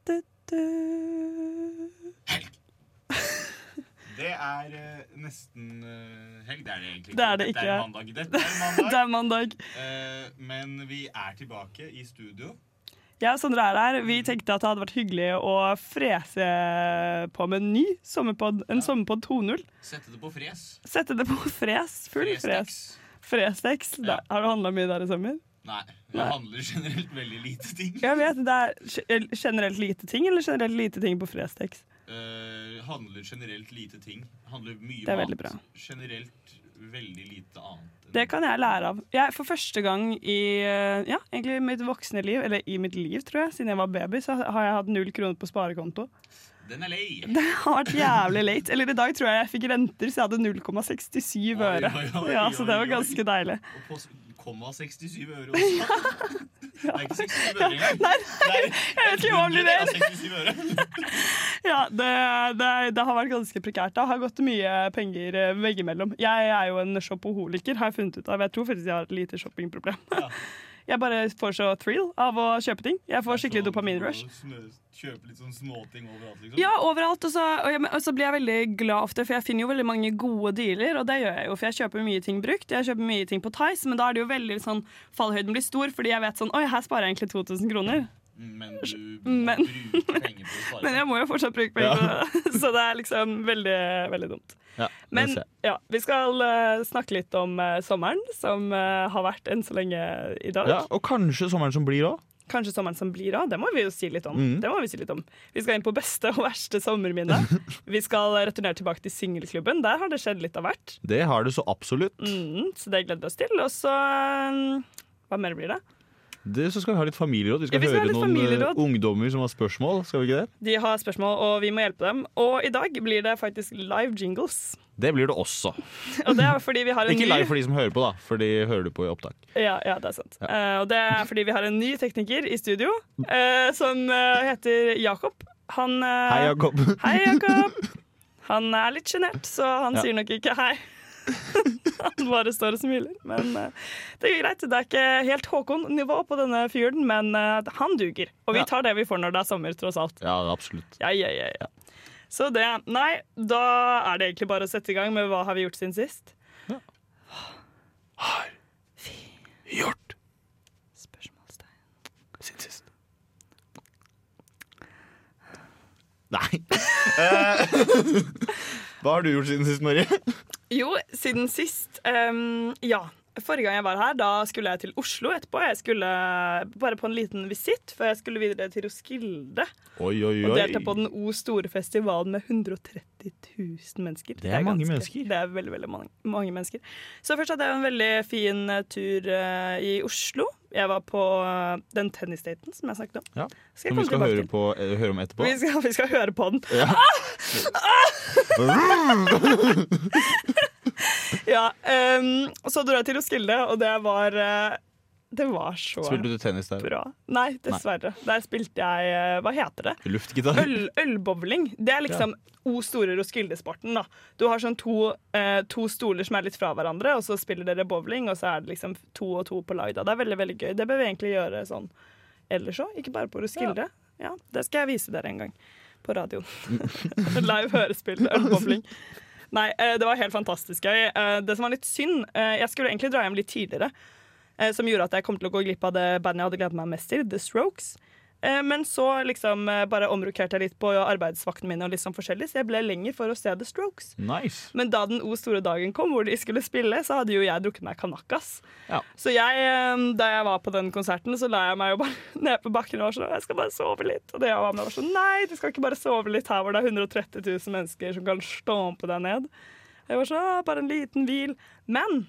Festen Du-du. Helg! Det er eh, nesten eh, helg. Det er det egentlig Det er det Dette ikke. er mandag. Dette er Det mandag. er mandag. Eh, men vi er tilbake i studio. Jeg og Sondre er her. Vi tenkte at det hadde vært hyggelig å frese på med en ny sommerpod, en sommerpod 2.0. Sette det på fres. Sette det på fres. Full fres. Frestekst. Frestekst. Ja. Da- Har du handla mye der i sommer? Nei. Det Nei. handler generelt veldig lite ting. Jeg vet, Det er ge- generelt lite ting, eller generelt lite ting på frestekst? Eh, handler generelt lite ting. Handler mye Det er mat. veldig bra. Generelt veldig lite annet. enn- Det kan jeg lære av. Jeg, for første gang i eh, ja, egentlig mitt voksne liv, eller i mitt liv, tror jeg, siden jeg var baby, så har jeg hatt null kroner på sparekonto. Den er lei! Det har vært jævlig late. Eller i dag tror jeg jeg fikk renter, så jeg hadde 0,67 øre. Oi, oi, oi, Ja, så det oi, var oi. ganske deilig. Og på s- komma 67 øre også. Det er ikke 67 øre engang. Nei, Det er- jeg vet ikke hva blir det. 67 Altså, øre. Ja, det, det, det har vært ganske prekært. Det har gått mye penger eh, veggimellom. Jeg er jo en shopaholiker, har jeg funnet ut av. Jeg tror faktisk jeg har et lite shoppingproblem. Ja. Jeg bare får så thrill av å kjøpe ting. Jeg får skikkelig Sånn, dopaminrush. og snø- Kjøpe litt sånn småting overalt, liksom. Ja, overalt. Og så, og, jeg, og så blir jeg veldig glad ofte, for jeg finner jo veldig mange gode dealer. Og det gjør jeg jo, for jeg kjøper mye ting brukt. Jeg kjøper mye ting på Tice, men da er det jo veldig sånn Fallhøyden blir stor, fordi jeg vet sånn Oi, her sparer jeg egentlig 2000 kroner. Men du Men- bruker penger på å spare. Men jeg må jo fortsatt bruke penger på det. Så det er liksom veldig, veldig dumt. Ja, Men ja, vi skal eh, snakke litt om eh, sommeren, som eh, har vært enn så lenge i dag. ja, Og kanskje sommeren som blir òg. Kanskje sommeren som blir av, det må vi jo si litt om. Mm. Det må Vi si litt om. Vi skal inn på beste og verste sommerminne. Vi skal returnere tilbake til singelklubben. Der har det skjedd litt av hvert. Det har det så absolutt. Mm, så det gleder vi oss til. Og så mm, Hva mer blir det? Det, så skal vi ha litt familieråd. Vi skal, Ja, vi skal ha høre litt noen eh, familieråd. ungdommer som har spørsmål. Skal vi ikke det? De har spørsmål, og vi må hjelpe dem. Og i dag blir det faktisk live jingles. Det blir det også. Og det er fordi vi har en Ikke ny live for de som hører på, da, for de hører du på i opptak. ja, ja, det er sant. Eh, og det er fordi vi har en ny tekniker i studio eh, som eh, heter Jakob. Han eh, Hei, Jakob. Hei, Jakob. Han er litt sjenert, så han Ja. sier nok ikke hei. Han bare står og smiler. Men eh, det er greit. Det er ikke helt Håkon-nivå på denne fyren, men eh, han duger. Og vi Ja. tar det vi får når det er sommer, tross alt. Ja, absolutt. Ja, ja, ja, ja. Så det Nei, da er det egentlig bare å sette i gang med hva har vi gjort siden sist? Hjort. Spørsmålstegn. Siden sist. Nei. Eh, Hva har du gjort siden sist, Marie? Jo, siden sist ehm, Ja. Forrige gang jeg var her, da skulle jeg til Oslo etterpå. Jeg skulle eh, bare på en liten visitt før jeg skulle videre til Roskilde. Oi, oi, Og oi. delta på den O store festivalen med 130 000 mennesker. Det er mange mennesker. Det er veldig, veldig mange, mange mennesker. Så først hadde jeg en veldig fin eh, tur eh, i Oslo. Jeg var på eh, den tennisdaten som jeg snakket om. Ja. Skal jeg Som vi komme skal tilbake høre, til. på, eh, høre om etterpå. Vi skal, vi skal høre på den. Ah! Ja, ehm, og så dro jeg til Roskilde, og det var eh, Det var så Spilte du tennis der? bra. Nei, dessverre. Der spilte jeg eh, Hva heter det? Luftgitar? Øl, ølbowling. Det er liksom O store Roskilde-sporten. da Du har sånn to, eh, to stoler som er litt fra hverandre, og så spiller dere bowling, og så er det liksom to og to på lag. da Det er veldig veldig gøy. Det bør vi egentlig gjøre sånn ellers òg, ikke bare på Roskilde. Ja. Det skal jeg vise dere en gang. På radioen. Live hørespill. Ølbowling. Nei, eh, det var helt fantastisk gøy. Eh, Det som var litt synd eh, Jeg skulle egentlig dra hjem litt tidligere, eh, som gjorde at jeg kom til å gå glipp av det bandet jeg hadde gledet meg mest til, The Strokes. Eh, Men så liksom eh, bare omrokerte jeg litt på arbeidsvaktene mine, og litt sånn forskjellig, så jeg ble lenger for å se The Strokes. Nice. Men da den O store dagen kom, hvor de skulle spille, så hadde jo jeg drukket meg kanakas. Ja. Så jeg, eh, da jeg var på den konserten, så la jeg meg jo bare ned på bakken og var sånn Jeg skal bare sove litt. Og det jeg var med, var sånn Nei, du skal ikke bare sove litt her hvor det er 130 000 mennesker som kan stampe deg ned. Jeg var sånn «Ah, Bare en liten hvil. Men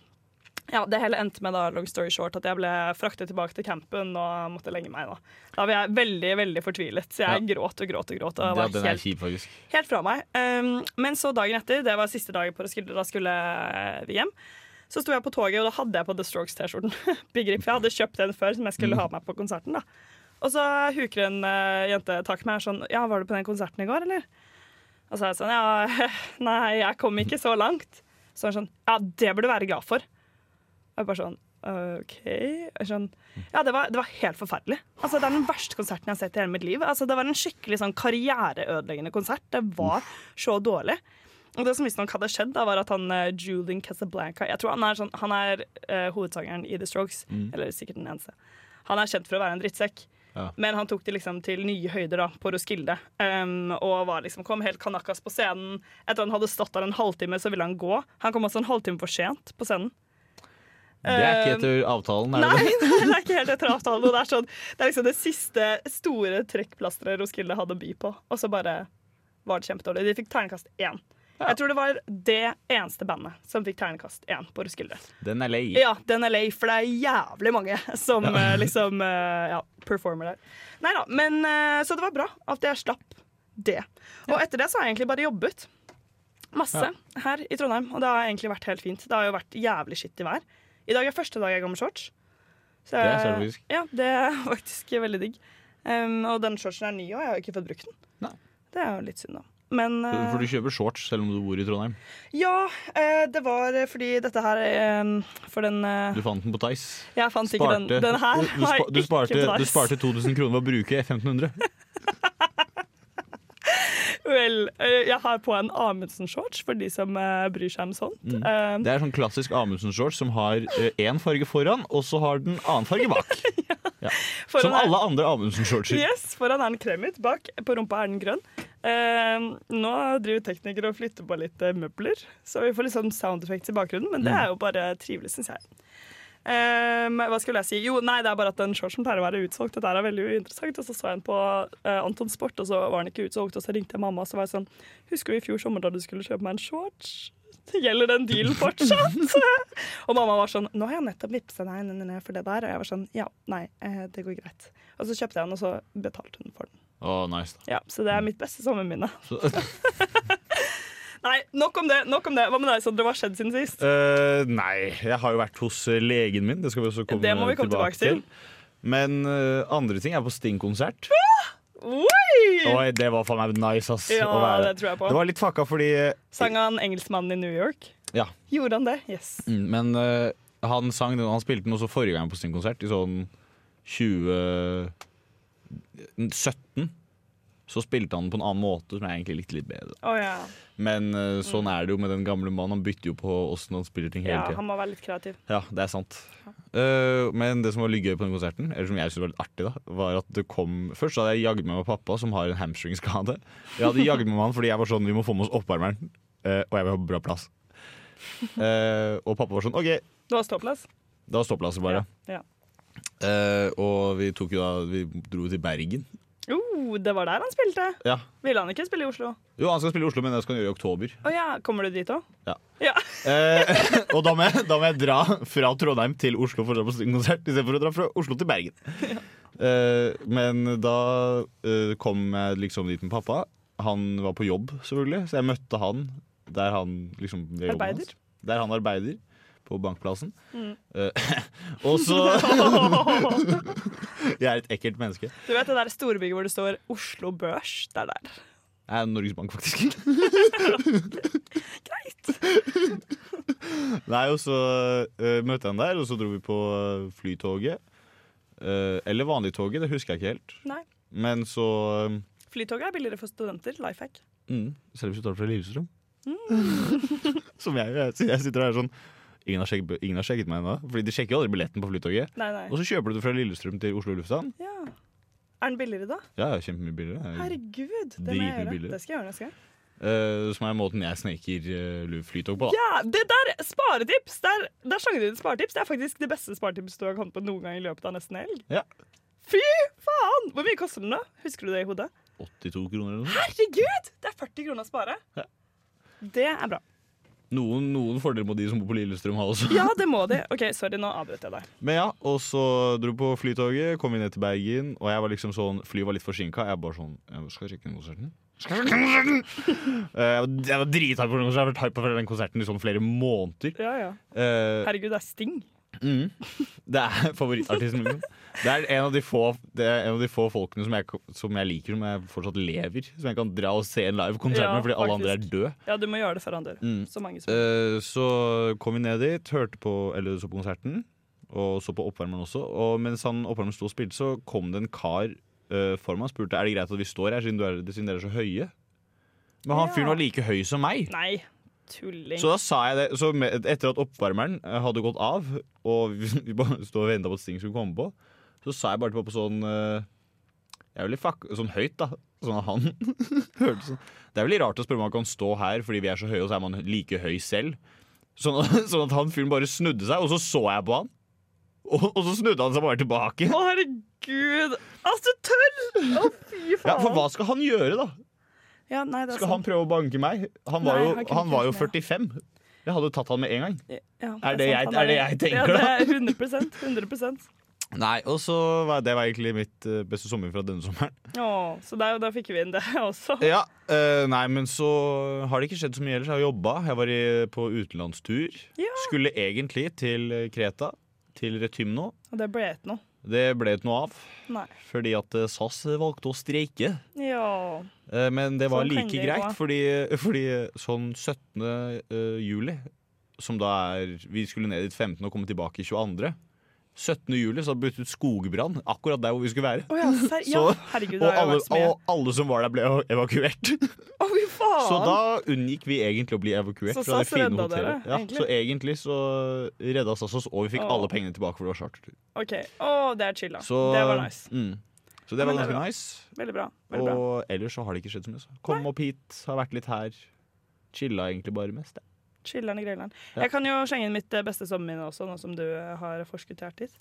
ja, det hele endte med da, long story short, at jeg ble fraktet tilbake til campen og måtte legge meg. Da Da var jeg veldig veldig fortvilet, så jeg gråt og gråt og gråt. Og Ja, var den er helt kjip, faktisk. Helt fra meg. Um, men så dagen etter, det var siste dagen på Roskilde, da skulle vi hjem. Så sto jeg på toget, og da hadde jeg på The Strokes-T-skjorten. Big Rip, for Jeg hadde kjøpt den før som jeg skulle ha med meg på konserten. da. Og så huker en eh, jente tak i meg og er sånn Ja, var du på den konserten i går, eller? Og så er jeg sånn Ja, nei, jeg kom ikke så langt. Så er hun sånn Ja, det burde du være glad for. Og jeg bare sånn OK jeg skjønner. Ja, det var, det var helt forferdelig. Altså, det er den verste konserten jeg har sett i hele mitt liv. Altså, det var en skikkelig sånn karriereødeleggende konsert. Det var så dårlig. Og det som visstnok hadde skjedd, da, var at han eh, Julian Casablanca Jeg tror han er, sånn, han er eh, hovedsangeren i The Strokes. Eller sikkert den eneste. Han er kjent for å være en drittsekk. Ja. Men han tok det liksom til nye høyder da, på Roskilde. Um, og var liksom, kom helt kanakas på scenen. Etter han hadde stått der en halvtime, så ville han gå. Han kom også en halvtime for sent på scenen. Det er ikke etter avtalen, er det Nei, det? nei, det er ikke helt etter avtalen. og Det er, sånn, det er liksom det siste store trekkplasteret Roskilde hadde å by på. Og så bare var det kjempedårlig. De fikk ternekast én. Jeg tror det var det eneste bandet som fikk ternekast én på Roskilde. Den er lei. Ja, den er lei, for det er jævlig mange som eh, liksom eh, ja, performer der. Nei da, men eh, Så det var bra at jeg slapp det. Og etter det så har jeg egentlig bare jobbet. Masse her i Trondheim, og det har egentlig vært helt fint. Det har jo vært jævlig skittig vær. I dag er første dag jeg går med shorts. Så, Det er selvlogisk. Ja, det er faktisk veldig digg. Um, og den shortsen er ny òg, jeg har jo ikke fått brukt den. Nei. Det er jo litt synd, da. Men eh, For du kjøper shorts selv om du bor i Trondheim. Ja, eh, det var fordi dette her eh, For den eh, Du fant den på Tice. jeg fant ikke den. Den her du, du, var spa, du, ikke sparte, på du Tice. sparte 2000 kroner ved å bruke 1500. Vel, eh, jeg har på en Amundsen-shorts for de som eh, bryr seg om sånt. Eh, Det er sånn klassisk Amundsen-shorts som har én farge foran, og så har den annen farge bak. foran Som er- alle andre Amundsen-shortser. Yes, foran er den kremmet, bak på rumpa er den grønn. Eh, nå driver teknikere og flytter på litt eh, møbler, så vi får litt sånn sound effects i bakgrunnen, men Mm. det er jo bare trivelig, syns jeg. Eh, hva skulle jeg si? Jo, nei, det er bare at den shortsen pleier å være utsolgt. Dette er veldig uinteressant. Og så så jeg den på eh, Anton Sport, og så var den ikke utsolgt. Og så ringte jeg mamma og så var jeg sånn Husker du i fjor sommer da du skulle kjøpe meg en shorts? Gjelder den dealen fortsatt? og mamma var sånn Nå har jeg nettopp vippsa deg nei, nei, nei, for det der. Og jeg var sånn Ja, nei, eh, det går greit. Og så kjøpte jeg den, og så betalte hun for den. Å, nice da. Ja, Så det er mitt beste sommerminne. Så- Nei, nok om det. nok om det Hva med deg, Sondre? Hva har skjedd siden sist? Eh, nei, jeg har jo vært hos eh, legen min. Det skal vi også komme, Det må vi komme tilbake til. Men eh, andre ting er på Sting-konsert. Oi! Oi, det var faen meg nice, ass. Ja, å være. det tror jeg på. Det var litt fucka fordi eh, Sang han 'Engelskmannen i New York'? Ja. Gjorde han det? Yes. mm, Men eh, han sang den, og han spilte den også forrige gang på Sting-konsert, i sånn 2017. Så spilte han den på en annen måte, som jeg egentlig likte litt bedre. Å ja. Men eh, sånn er det jo med den gamle mannen. Han bytter jo på åssen han spiller ting hele ja. tida. Han må være litt kreativ. Ja, det er sant. Eh, men det som var litt gøy på den konserten, eller som jeg syntes var litt artig, da, var at det kom Først så hadde jeg jagd med meg pappa, som har en hamstringskade. Jeg hadde jagd med han fordi jeg var sånn Vi må få med oss oppvarmeren, eh, og jeg vil ha bra plass. Eh, og pappa var sånn OK, Det var ståplass? da var ståplasset bare. Ja. Eh, og vi tok jo da Vi dro til Bergen. Oh, det var der han spilte. Ja. Ville han ikke spille i Oslo? Jo, han skal spille i Oslo, men det skal han gjøre i oktober. Å ja, kommer du dit òg? Ja. ja. Eh, og da må, jeg, da må jeg dra fra Trondheim til Oslo for å dra på Sting-konsert, istedenfor å dra fra Oslo til Bergen. Eh, men da eh, kom jeg liksom dit med pappa. Han var på jobb, selvfølgelig, så jeg møtte han der han liksom ved jobben Arbeider. hans. Der han arbeider. På Bankplassen. Eh, og så Jeg er et ekkelt menneske. Du vet det der storbygget hvor det står Oslo Børs? Det er der. Jeg er Norges Bank, faktisk. Greit. Nei, og så eh, møtte jeg han der, og så dro vi på eh, flytoget. Eh, eller vanligtoget, det husker jeg ikke helt. Nei. Men så eh, Flytoget er billigere for studenter. Life hack. mm, Selv hvis du tar det fra Lillestrøm. Som jeg gjør. Jeg sitter- Jeg sitter her sånn Ingen har sjekket, ingen har sjekket meg ennå. Fordi de sjekker jo aldri billetten på flytoget. Nei, nei. Og så kjøper du det fra Lillestrøm til Oslo lufthavn. Ja. Er den billigere da? Ja, ja, kjempemye billigere. Herregud, det må jeg Dritmye gjøre. billigere. Det skal jeg gjøre neste gang. Eh, som er måten jeg sneker eh, flytog på, da. Ja, det der! Sparetips! Der, der sang du ditt sparetips. Det er faktisk det beste sparetips du har kommet på noen gang i løpet av nesten helg. Ja. Fy faen! Hvor mye koster den, da? Husker du det i hodet? 82 kroner eller noe. Herregud! Det er 40 kroner å spare. Ja. Det er bra. Noen, noen fordeler må de som bor på Lillestrøm ha også. Ja, det må de. OK, sorry, nå avbrøt jeg deg. Men ja, og så dro vi på flytoget, kom vi ned til Bergen, og jeg var liksom sånn, flyet var litt forsinka. Jeg bare sånn jeg Skal jeg sjekke den konserten? Skal jeg sjekke den konserten? Eh, jeg var, jeg var drithype for den konserten. Jeg har vært hype for den konserten i sånn flere måneder. Ja, ja. Eh, Herregud, det er Sting. det er favorittartisten min. Det er en av de få, det er en av de få folkene som jeg, som jeg liker, som jeg fortsatt lever. Som jeg kan dra og se en live konsert Ja, med, fordi alle andre er faktisk. døde. Ja, du må Mm. gjøre det før han dør. Så mange som Eh, så kom vi ned dit, hørte på, eller så på konserten. og så på oppvarmeren også. Og mens han oppvarmeren sto og spilte, så kom det en kar uh, for meg og spurte er det greit at vi står her, siden, du er, siden dere er så høye. Men han Ja. fyren var like høy som meg. Nei, tulling. Så da sa jeg det. Så med, etter at oppvarmeren eh, hadde gått av, og vi, vi bare stod og venta på at Sting skulle komme på, så sa jeg bare til pappa sånn eh, jeg er veldig fuck, Sånn høyt, da. Sånn at han hørte sånn. Det er veldig rart å spørre om han kan stå her, fordi vi er så høye, og så er man like høy selv. Sånn at, sånn at han fyren bare snudde seg, og så så jeg på han. Og, og så snudde han seg bare tilbake. Å, herregud! Altså, tørr! Å, fy faen. Ja, For hva skal han gjøre, da? Ja, nei, det er Skal han sant. prøve å banke meg? Han var Nei, jo, han kunne han ikke var jo gjort 45. Jeg hadde tatt han med en gang. Ja, Er det sant, jeg- han er det jeg tenker, Ja, det er 100 100 Nei, og så var det var egentlig mitt eh, beste sommer fra denne sommeren. Å, så der, da fikk vi inn det også. Ja, eh, Nei, men så har det ikke skjedd så mye ellers. Jeg har jobba. Jeg var i, på utenlandstur. Ja. Skulle egentlig til eh, Kreta, til Retymno. Og det ble et noe. Det ble ikke noe av, Nei. fordi at eh, SAS valgte å streike. Ja. Eh, Men det var Sånn kan like det greit, gå. fordi, fordi sånn 17. eh, juli, som da er Vi skulle ned dit 15. og komme tilbake 22. 17. juli så hadde det brutt ut skogbrann akkurat der hvor vi skulle være. Å ja, ser, ja. Så- herregud, Og det har jo alle, vært så mye. og alle som var der, ble evakuert. Å, fy faen! Så da unngikk vi egentlig å bli evakuert. Så fra det SAS fine redda hotellet. dere, ja, egentlig? Så egentlig så redda SAS oss, og vi fikk Åh. alle pengene tilbake for det var chartertur. OK. Å, det er chill, da. Så, Det var nice. Mm. Så det men det var er ganske bra. nice. Veldig bra. Veldig bra. Og ellers så har det ikke skjedd så mye. så. Kom opp hit, har vært litt her. Chilla egentlig bare mest. jeg. Chiller'n og grilleren. Ja. Jeg kan jo slenge inn mitt eh, beste sommerminne også, nå som du eh, har forskuttert dit.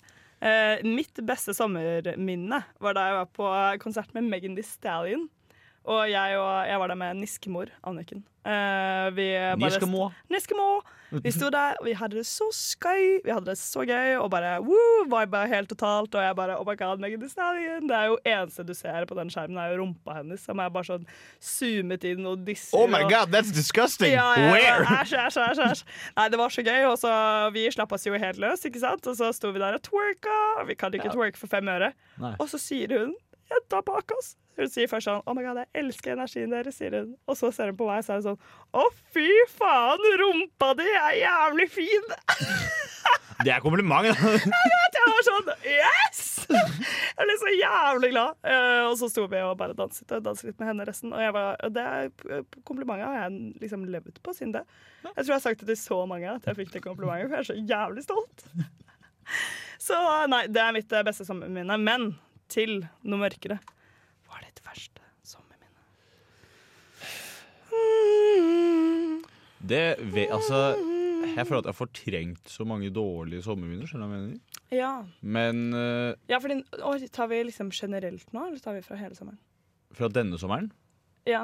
Eh, mitt beste sommerminne var da jeg var på eh, konsert med Megan Thee Stallion. Og jeg, og jeg var der med niskemor, Anniken. Eh, vi Vi bare- skal må. Neskemo! Vi sto der, og vi hadde det så skøy. Vi hadde det så gøy, og bare woo, viba helt totalt. Og jeg bare Oh my god, Megan Thee Stallion. Det er jo eneste du ser på den skjermen, er jo rumpa hennes, som er bare sånn zoomet inn og disser. Oh my og- god, that's disgusting! ja, ja, ja. Where? Æsj, æsj, æsj, æsj. Nei, det var så gøy, og så vi slapp oss jo helt løs, ikke sant? Og så sto vi der og twerka, og vi kan jo ikke twerke for fem øre. Nei. Og så sier hun, jenta bak oss, hun sier først sånn, oh my god, jeg elsker energien deres, sier hun. Og så ser hun på meg, så er hun sånn, å fy faen, rumpa di er jævlig fin. Det er kompliment. da. At jeg var sånn, yes! Jeg ble så jævlig glad. Eh, og så sto vi og bare danset, og danset litt med henne resten. Og jeg var, og det er- komplimentet har jeg liksom levd på siden det. Jeg tror jeg har sagt det til så mange at jeg fikk det komplimentet, for jeg er så jævlig stolt. Så nei, det er mitt eh, beste sommerminne. Men til noe mørkere. Hva er ditt verste sommerminne? Mm, Det ve altså, jeg føler at jeg har fortrengt så mange dårlige sommerminner. skjønner du hva jeg mener? ja. Men eh, ja, for din, oi, tar vi liksom generelt nå, eller tar vi fra hele sommeren? fra denne sommeren Ja.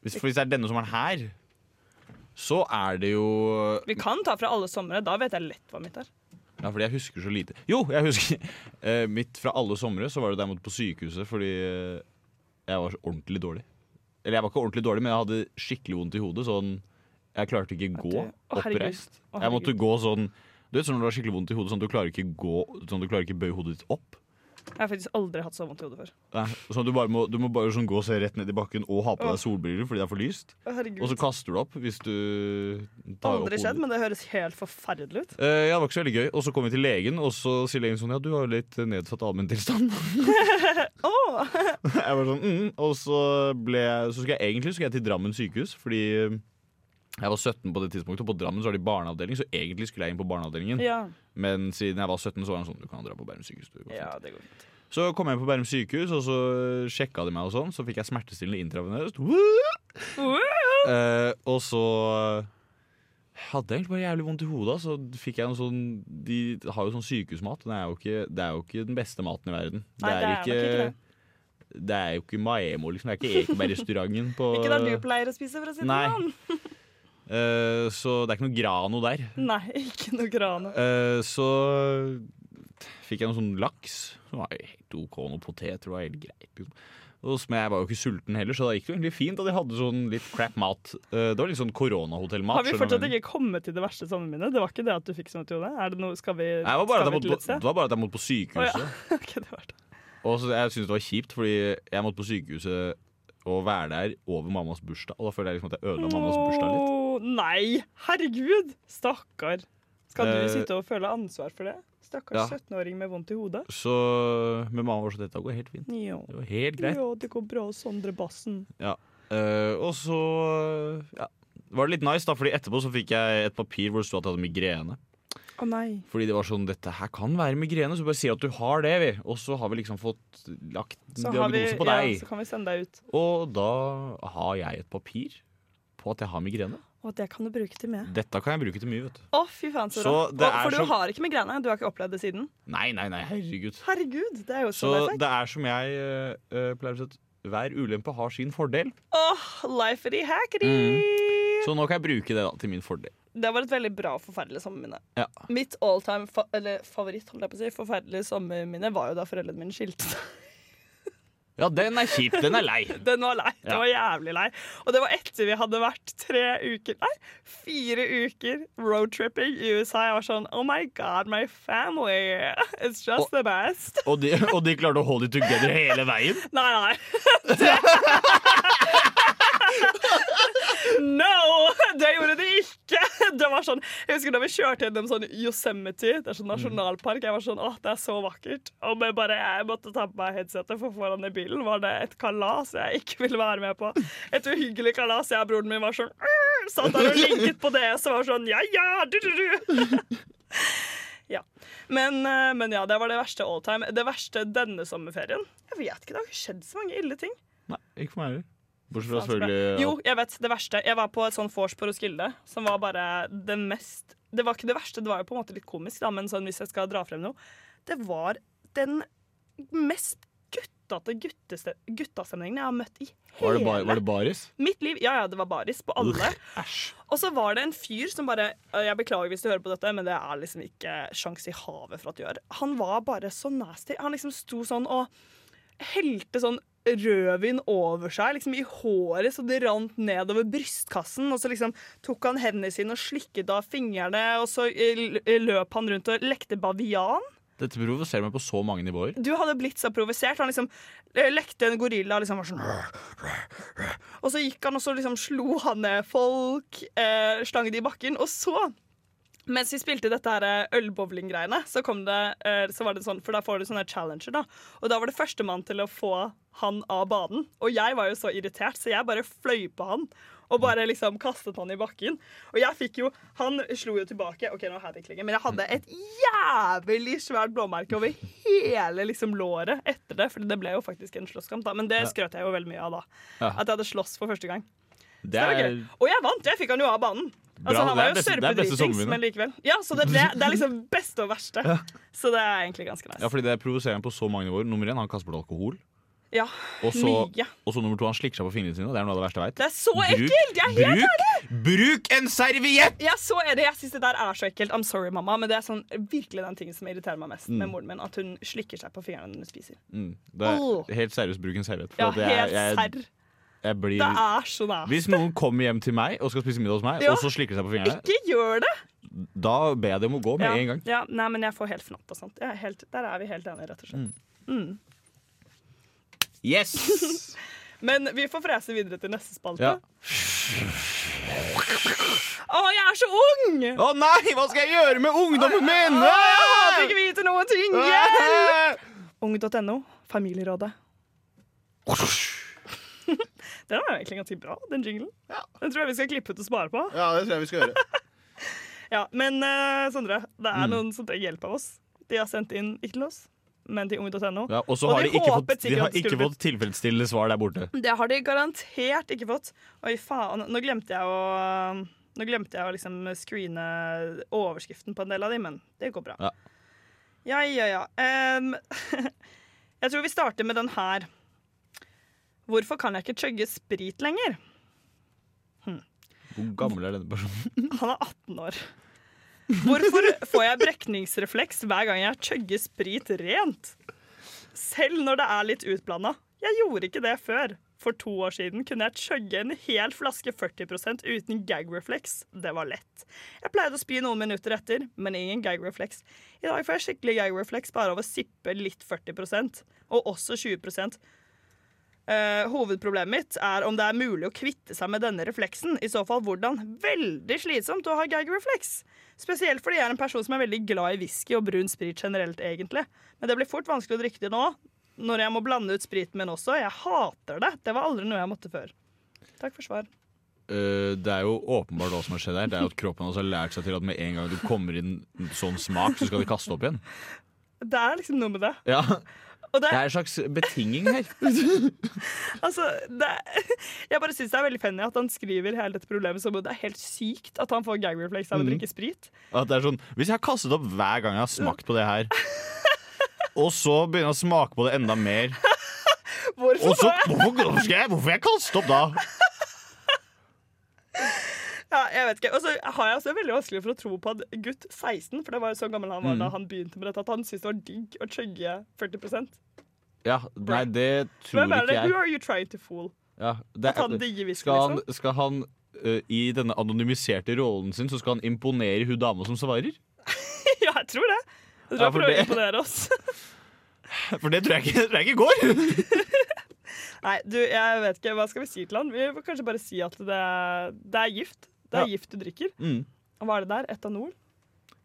hvis, for hvis det er denne sommeren her, så er det jo Vi kan ta fra alle somre, da vet jeg lett hva mitt er. Ja, fordi jeg husker så lite. Jo, jeg husker! Eh, mitt fra alle somre så var det da jeg måtte på sykehuset fordi eh, jeg var så ordentlig dårlig. Eller jeg var ikke ordentlig dårlig, men jeg hadde skikkelig vondt i hodet. Sånn, Jeg klarte ikke At gå du- Å, herregud. oppreist. Å, Jeg måtte herregud. gå sånn Du vet sånn når du har skikkelig vondt i hodet, sånn at du klarer ikke gå Sånn at du klarer ikke bøye hodet ditt opp. Jeg har faktisk aldri hatt så vondt i hodet før. Nei, Sånn at du bare må, du må bare sånn gå og se rett ned i bakken og ha på Åh. deg solbriller fordi det er for lyst. Å, herregud. Og så kaster du opp hvis du tar opp aldri hodet. skjedd, men det høres helt forferdelig ut. Eh, ja, det var ikke så veldig gøy. Og så kom vi til legen, og så sier legen sånn Ja, du har jo litt nedsatt allmenntilstand. Åh, jeg var sånn, mm. Og så ble jeg Så skulle jeg egentlig skulle jeg til Drammen sykehus, fordi eh, jeg var 17 på det tidspunktet, og på Drammen så har de barneavdeling, så egentlig skulle jeg inn på barneavdelingen. ja. Men siden jeg var 17, så var han sånn Du kan dra på Bærum sykehus. Du, går ja, fint». det går fint. Så kom jeg inn på Bærum sykehus, og så sjekka de meg, og sånn. Så fikk jeg smertestillende intravenøst. Woo! Uh, Eh, og så eh, hadde jeg egentlig bare jævlig vondt i hodet. Så fikk jeg noe sånn De har jo sånn sykehusmat. og Det er jo ikke, det er jo ikke den beste maten i verden. Nei, det er nok ikke det. er jo ikke Maemo, liksom. Det er ikke Ekeberg-restauranten på Ikke der du pleier å spise, for å si det Nei. sånn. Eh, Så det er ikke noe Grano der. Nei, ikke noe grane. Eh, så fikk jeg noe sånn laks. Som var helt OK. Noe potet tror jeg var helt greit. Liksom. Og så- Men jeg var jo ikke sulten heller, så da gikk det jo egentlig fint at jeg hadde sånn litt crap mat. Eh, det var litt sånn koronahotellmat. Har vi skjønner du hva jeg fortsatt mener? ikke kommet til det verste sommerminnet? Det var ikke det at du fikk sånn vondt i hodet? Er det noe, skal vi, Nei, det, var bare at skal jeg vi til måtte, et på- det sted? var bare at jeg måtte på sykehuset. Å, ja. Ok, det var det. Og så Jeg syntes det var kjipt, fordi jeg måtte på sykehuset og være der over mammas bursdag. Og da føler jeg liksom at jeg ødela mammas bursdag litt. Åh, Nei, herregud! Stakkar. Skal du Eh, sitte og føle ansvar for det? Stakkars ja. 17-åring med vondt i hodet. Så med mamma var så dette går helt fint. Jo. Det var helt greit. jo, det går bra, Sondre Bassen. Eh, og så ja, var det litt nice, da, fordi etterpå så fikk jeg et papir hvor det sto at jeg hadde migrene. Å nei. Fordi det var sånn Dette her kan være migrene, så bare si at du har det, vi. Og så har vi liksom fått lagt Så, har vi, diagnose på ja, deg. så kan vi sende deg ut. Og da har jeg et papir på at jeg har migrene. Og det kan du bruke til meg. Dette kan jeg bruke til mye, vet du. Å, fy faen, så Så bra. det Å, er For du som- har ikke migrene. Du har ikke opplevd det siden. Nei, nei, nei, herregud. Herregud, det er jo Så så perfekt. det er som jeg eh, pleier å si, at hver ulempe har sin fordel. Åh, lifety hackety! Så nå kan jeg bruke det da, til min fordel. Det var et veldig bra og forferdelig sommerminne. Ja. Mitt alltime fa eller favoritt holdt jeg på å si, forferdelig sommerminne var jo da foreldrene mine skilte seg. Ja, den er kjip. Den er lei. Den var lei. Den Ja. var jævlig lei. Og det var etter vi hadde vært tre uker, nei, fire uker roadtripping i USA. Jeg var sånn Oh my God, my family. It's just Og- the best. Og de, og de klarte å holde it together hele veien. Nei, nei. No! Det gjorde de ikke! Det var sånn, Jeg husker da vi kjørte gjennom sånn Yosemite, det er sånn nasjonalpark. Jeg var sånn, åh, det er så vakkert. Og jeg bare, jeg måtte ta på meg headsetet, for foran i bilen var det et kalas jeg ikke ville være med på. Et uhyggelig kalas. Jeg og broren min var sånn «Åh!» Satt der og ligget på det, så var sånn ja, ja, du, du, du. Ja. Men, eh, men ja, det var det verste all time. Det verste denne sommerferien. Jeg vet ikke, Det har ikke skjedd så mange ille ting. Nei, ikke for meg heller. Bortsett fra selvfølgelig Jo, jeg vet det verste. Jeg var på et sånn vors på Roskilde som var bare det mest Det var ikke det verste, det var jo på en måte litt komisk, da, men sånn hvis jeg skal dra frem noe Det var den mest guttete gutteste, guttastemningen jeg har møtt i Var det, hele ba- var det baris? mitt liv. Ja, ja, det var baris på alle. Æsj. Og så var det en fyr som bare Jeg beklager hvis du hører på dette, men det er liksom ikke sjans i havet for at du gjør. Han var bare så nasty. Han liksom sto sånn og helte sånn rødvin over seg, liksom i håret, så det rant nedover brystkassen. Og så liksom tok han hendene sine og slikket av fingrene, og så eh, løp han rundt og lekte bavian. Dette provoserer meg på så mange nivåer. Du hadde blitt så provosert. Han liksom eh, lekte en gorilla. og Liksom var sånn Og så gikk han og så liksom slo han ned folk, eh, slang de i bakken. Og så, mens vi spilte dette her eh, ølbowling-greiene, så kom det eh, Så var det sånn, for da får du sånne challenger, da. Og da var det førstemann til å få han av banen. Og jeg var jo så irritert, så jeg bare fløy på han. Og bare liksom kastet han i bakken. Og jeg fikk jo Han slo jo tilbake. Ok, nå er jeg ikke lenger, Men jeg hadde et jævlig svært blåmerke over hele liksom låret etter det. For det ble jo faktisk en slåsskamp, da. Men det skrøt jeg jo veldig mye av da. Ja. At jeg hadde slåss for første gang. Det Det var er gøy. Og jeg vant! Jeg fikk han jo av banen. Altså, Bra, han det var er jo beste- det er beste sørpedritings, sommervinner. men likevel. Ja, så det, det, det er liksom beste og verste. Så det er egentlig ganske Ja, nice. fordi det provoserer meg på så mange nivåer. Nummer én, han kaster bort alkohol. Ja, Og så, mye. og så nummer to, han slikker seg på fingrene sine. og Det er noe av det verste jeg veit. Det er så ekkelt! Jeg er helt bruk, bruk en serviett! Ja, så er det. Jeg syns det der er så ekkelt. I'm sorry, mamma. Men det er sånn, virkelig den tingen som irriterer meg mest med moren min. At hun slikker seg på fingrene når hun spiser. Mm, det Åh. er helt seriøst, bruk en serviett. for Ja, at jeg- helt jeg, serr. jeg blir- Det er så nært. Hvis noen kommer hjem til meg og skal spise middag hos meg, Ja. og så slikker de seg på fingrene, Ikke gjør det! da ber jeg dem å gå med Ja, en gang. ja, nei, men jeg får helt fnatt og sånt. Jeg er helt, der er vi helt enige, rett og slett. Yes! Men vi får frese videre til neste spalte. Ja. Å, jeg er så ung! Å nei, hva skal jeg gjøre med ungdommen Å, min?! jeg håper ikke vi til noen ting! Hjelp! Ung.no, Familierådet. Den var egentlig ganske bra, den jinglen. Ja. Den tror jeg vi skal klippe ut og spare på. Ja, det tror jeg vi skal gjøre. Ja, Men eh, Sondre, det Mm. er noen som trenger hjelp av oss. De har sendt inn, ikke til oss, men til ung.no. Ja, og så Og har de de ikke, håpet fått, de sikkert at har det ikke skulle fått tilfredsstillende svar der borte. Det har de garantert ikke fått. Oi, faen. Nå glemte jeg å Nå glemte jeg å liksom screene overskriften på en del av de, men det går bra. Ja. ja, ja. ja. Em, jeg tror vi starter med den her. Hvorfor kan jeg ikke chugge sprit lenger? Hvor gammel er denne personen? Han er 18 år. Hvorfor får jeg brekningsrefleks hver gang jeg chugger sprit rent? Selv når det er litt utblanda. Jeg gjorde ikke det før. For to år siden kunne jeg chugge en hel flaske 40 uten gag-refleks. Det var lett. Jeg pleide å spy noen minutter etter, men ingen gag-refleks. I dag får jeg skikkelig gag-refleks bare av å sippe litt 40 og også 20 Eh, hovedproblemet mitt er om det er mulig å kvitte seg med denne refleksen. I så fall hvordan. Veldig slitsomt å ha gag-refleks. Spesielt fordi jeg er en person som er veldig glad i whisky og brun sprit generelt, egentlig. Men det blir fort vanskelig å drikke det nå, når jeg må blande ut spriten min også. Jeg hater det. Det var aldri noe jeg måtte før. Takk for svar. Eh, det er jo åpenbart hva som har skjedd her. Det er jo at Kroppen hans har lært seg til at med en gang du kommer inn sånn smak, så skal de kaste opp igjen. Det er liksom noe med det. Ja, Og det, Det er en slags betinging her. altså, det Jeg bare syns det er veldig funny at han skriver hele dette problemet som om det er helt sykt at han får gag-refleks Mm. av å drikke sprit. At det er sånn, Hvis jeg har kastet opp hver gang jeg har smakt på det her, og så begynner jeg å smake på det enda mer Hvorfor Og så, får jeg hvorfor, hvorfor skal jeg, hvorfor jeg kaste opp da? Ja, jeg vet ikke. Og så har jeg også veldig vanskelig for å tro på at gutt 16, for det var jo så gammel han var Mm. da han begynte med dette, at han syntes det var digg å chugge 40 Ja, Nei, det tror Hvem er ikke det? Who jeg. are you trying to fool? Ja, det, At han digger whisky, skal han, liksom? skal han ø, i denne anonymiserte rollen sin, så skal han imponere hun dama som svarer? liksom. ja, jeg tror det. Jeg tror Ja, han for prøver å det- imponere oss. For det tror jeg ikke, tror jeg ikke går! Nei, du, jeg vet ikke. Hva skal vi si til han? Vi får kanskje bare si at det er, det er gift. Det er Ja. gift du drikker. Mm. Og Hva er det der? Etanol?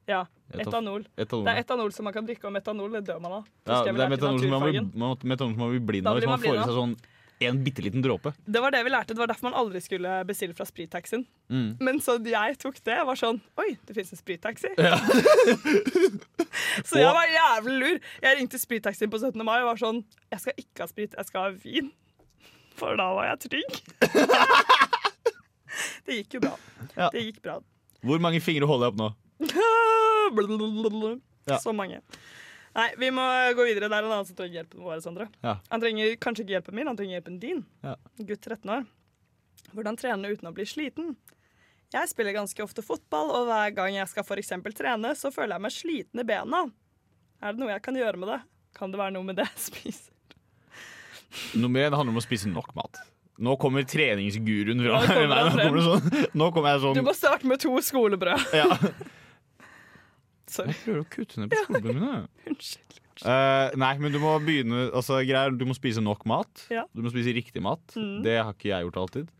Ja, Etan- etanol. Etanol. Det er etanol som man kan drikke, og metanol det dør man av. Husker Ja, jeg vi det er lærte i metanol som man blir, naturfagen. man- metanol som man blir blind Da av hvis blir man man får i blind seg sånn en bitte liten dråpe. Det var det vi lærte. Det var derfor man aldri skulle bestille fra sprittaxien. Men så jeg tok det, var sånn Oi, det fins en sprittaxi. så jeg var jævlig lur. Jeg ringte sprittaxien på 17. mai og var sånn Jeg skal ikke ha sprit, jeg skal ha vin. For da var jeg trygg. det gikk jo bra. Ja. Det gikk bra. Hvor mange fingre holder jeg opp nå? Ja. Så mange. Nei, vi må gå videre. Det er en annen som trenger hjelpen vår. Sandra. Ja. Han trenger kanskje ikke hjelpen min, han trenger hjelpen din. Ja. Gutt 13 år. Hvordan trene uten å bli sliten? Jeg spiller ganske ofte fotball, og hver gang jeg skal for eksempel trene, så føler jeg meg sliten i bena. Er det noe jeg kan gjøre med det? Kan det være noe med det jeg spiser? Nummer én handler om å spise nok mat. Nå kommer treningsguruen fra Nå kommer Nei, nå han frem. kommer, det sånn, nå kommer jeg Du sånn må starte med to skolebrød. ja. Sorry. Jeg prøver å kutte ned på skolebøkene mine. Unnskyld. Eh, nei, men du må begynne altså, greier, Du må spise nok mat. Ja. Du må spise riktig mat. Mm. Det har ikke jeg gjort alltid.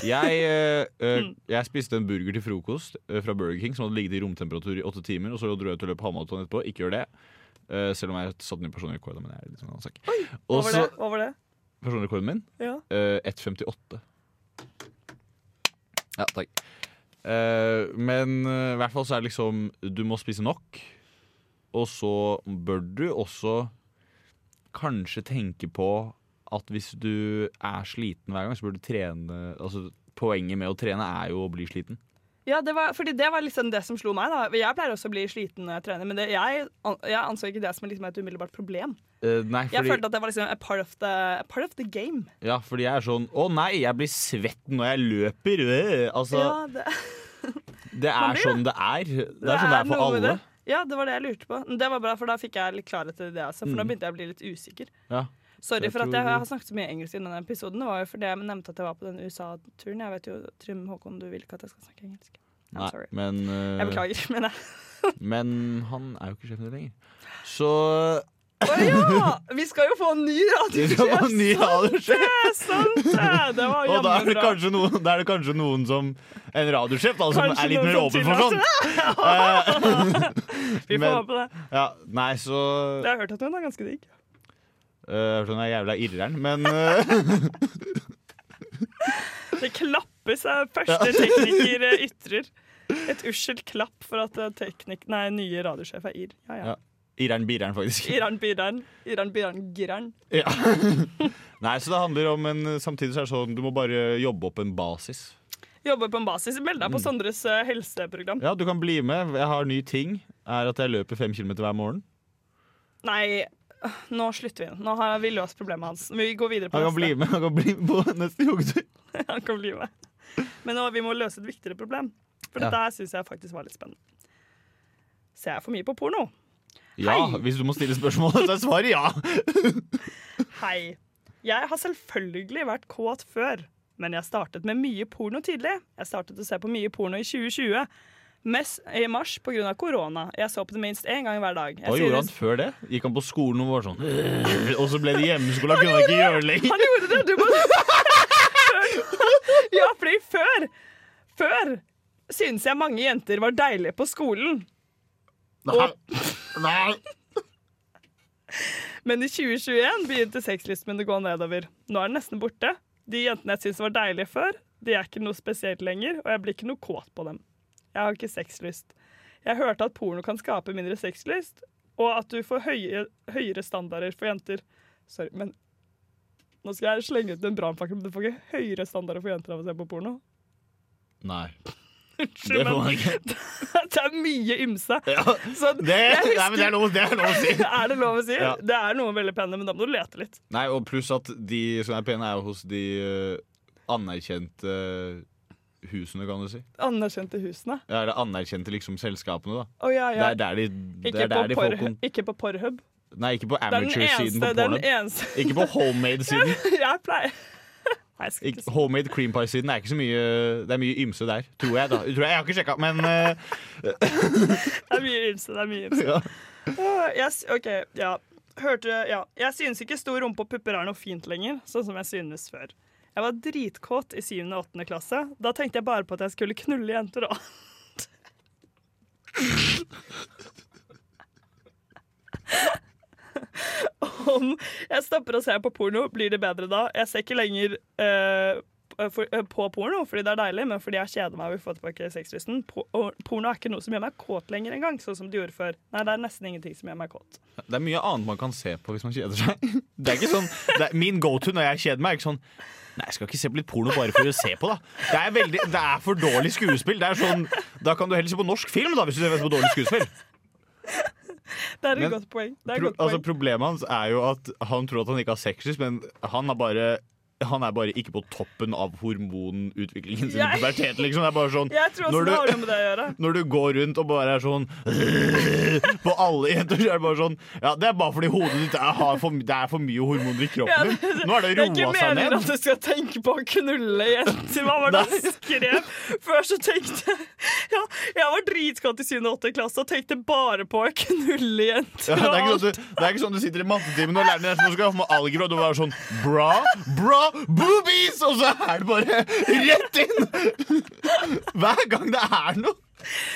Jeg, eh, eh, jeg spiste en burger til frokost eh, fra Burger King som hadde ligget i romtemperatur i åtte timer. Og så dro jeg ut og løp halvmaraton etterpå. Ikke gjør det. Eh, selv om jeg satte ny personlig rekord. da, Men det er litt sånn annen sak. Hva Og var så det? Hva var det? personlig rekorden min Ja. eh, 1,58. Ja, takk. Eh, men eh, i hvert fall så er det liksom Du må spise nok. Og så bør du også kanskje tenke på at hvis du er sliten hver gang, så bør du trene Altså Poenget med å trene er jo å bli sliten. Ja, det var, fordi det var liksom det som slo meg. da Jeg pleier også å bli sliten når jeg trener, men det, jeg, an- jeg anså ikke det som liksom et umiddelbart problem. Eh, nei, Jeg fordi følte at det var liksom a part of the, a part of the game. Ja, fordi jeg er sånn Å nei, jeg blir svett når jeg løper! Øh, altså, ja, det, det man er blir sånn det er. Det er sånn det er for noe med alle. det. Ja, det var det jeg lurte på. Men Det var bra, for da fikk jeg litt klarhet i det også. For nå begynte jeg å bli litt usikker. Ja. Sorry Mm. Jeg for at tror- jeg har snakket så mye engelsk i denne episoden. Det var jo fordi jeg nevnte at jeg var på den USA-turen. Jeg vet jo, Trym Håkon, du vil ikke at jeg skal snakke engelsk. I'm Nei, sorry. men eh, Jeg beklager, men jeg Men han er jo ikke sjefen din lenger. Så Å ja! Vi skal jo få en ny det skal være en ny radiosjef! radiosjef! Det er sant! det. Det var Og da jammen er, det bra. kanskje noen, da er det kanskje noen som En radiosjef da, som Kanskje er litt noen mer som åpen for sånn. Vi får Men- håpe det. Ja, nei, så Jeg har hørt at hun er ganske digg. eh, Jeg hørte hun er jævla irreren, men eh, Det klappes av første tekniker eh, ytrer. Et uskyldt klapp for at eh, teknik... Nei, nye radiosjef er Ir. Ja, ja. Ja. irreren birreren, faktisk. Iran Biran. Iran Biran Giran. Ja. Nei, så det handler om en Samtidig så er det sånn du må bare jobbe opp en basis. Jobber på en basis. Meld Mm. deg på Sondres eh, helseprogram. Ja, du kan bli med. Jeg har ny ting. Er at jeg løper fem kilometer hver morgen. Nei, øh, nå slutter vi. Nå har vi løst problemet hans. Vi går videre på Han kan bli neste. med, han kan bli med på neste joggetur. Han kan bli med. Men nå, vi må løse et viktigere problem. For Ja. dette her syns jeg faktisk var litt spennende. Ser jeg for mye på porno? Ja, Hei. hvis du må stille spørsmål, så er svaret ja. Hei. Jeg har selvfølgelig vært kåt før, men jeg startet med mye porno tidlig. Jeg startet å se på mye porno i 2020. mest i mars pga. korona. Jeg så på det minst én gang hver dag. Jeg Hva synes- gjorde han før det? Gikk han på skolen og var sånn «Øh», Og så ble det hjemmeskole, han kunne ikke gjøre det lenger. Han gjorde det! Du må Ja, fordi før Før syntes jeg mange jenter var deilige på skolen. Nei. Nei. Men i 2021 begynte sexlysten min å gå nedover. Nå er den nesten borte. De jentene jeg syntes var deilige før, de er ikke noe spesielt lenger, og jeg blir ikke noe kåt på dem. Jeg har ikke sexlyst. Jeg hørte at porno kan skape mindre sexlyst, og at du får høye, høyere standarder for jenter. Sorry, men nå skal jeg slenge ut en brannfakkel, men du får ikke høyere standarder for jenter av å se på porno. Nei, det Unnskyld, får man men ikke. det er mye ymse. Ja, Så det, jeg nei, men det er lov, det er lov å si. er det lov å si? Ja. Det er noen veldig pene, men da må du lete litt. Nei, og pluss at de som er pene, er jo hos de eh, anerkjente øh, husene, kan du si. Anerkjente husene. Ja, Eller anerkjente liksom selskapene, da. Å, ja, Det ja. er der de, det Ikke, er der de på får porhub, kon... ikke på Pornhub. Nei, ikke på Det er den amateur-siden eneste, på den porno. eneste Ikke på homemade-siden. Jeg pleier Nei, jeg skal Ikke- ikke si Homemade cream pie-siden er ikke så mye Det er mye ymse der, tror jeg. da tror Jeg, jeg har ikke sjekka, men eh, Det er mye ymse. Det er mye ymse. ja. Åh, jeg s- OK, ja. Hørte Ja. Jeg synes ikke stor rumpe og pupper er noe fint lenger, sånn som jeg synes før. Jeg var dritkåt i 7. og 8. klasse. Da tenkte jeg bare på at jeg skulle knulle jenter og annet. Om jeg stopper å se på porno, blir det bedre da. Jeg ser ikke lenger eh, for, eh, på porno fordi det er deilig, men fordi jeg kjeder meg og vil få tilbake sexlysten. Po og porno er ikke noe som gjør meg kåt lenger engang, sånn som det gjorde før. Nei, det er nesten ingenting som gjør meg kåt. Det er mye annet man kan se på hvis man kjeder seg. Det er ikke sånn, det er, min go to når jeg kjeder meg, er ikke sånn Nei, jeg skal ikke se på litt porno bare for å se på, da. Det er, veldig, det er for dårlig skuespill. Det er sånn, da kan du heller se på norsk film, da, hvis du ser på dårlig skuespill. Det er et Men godt poeng. Det er et Pro, godt poeng. altså, problemet hans er jo at han tror at han ikke har sexlyst, men han er bare han er bare ikke på toppen av hormonutviklingen sin i Jeg- puberteten. Liksom. Det er bare sånn jeg tror også når det du- har noe med det å gjøre. når du går rundt og bare er sånn På alle jenter så er det bare sånn Ja, det er bare fordi hodet ditt er, har for, det er for mye hormoner i Ja, kroppen det- din. Nå er det Det er ikke roa seg meningen ned. at du skal tenke på å knulle jenter. Hva var det Nei. jeg skrev? Før så tenkte jeg ja, Jeg var dritskatt i 7. og 8. klasse og tenkte bare på å knulle Ja, jenter. det, er ikke og sånn, at du, det er ikke sånn du sitter i mattetimen og læreren din er sånn, "Nå skal ha med algebra, og du bare sånn Bra, bra, boobies! Og så er det bare rett inn! Hver gang det er noe. alt.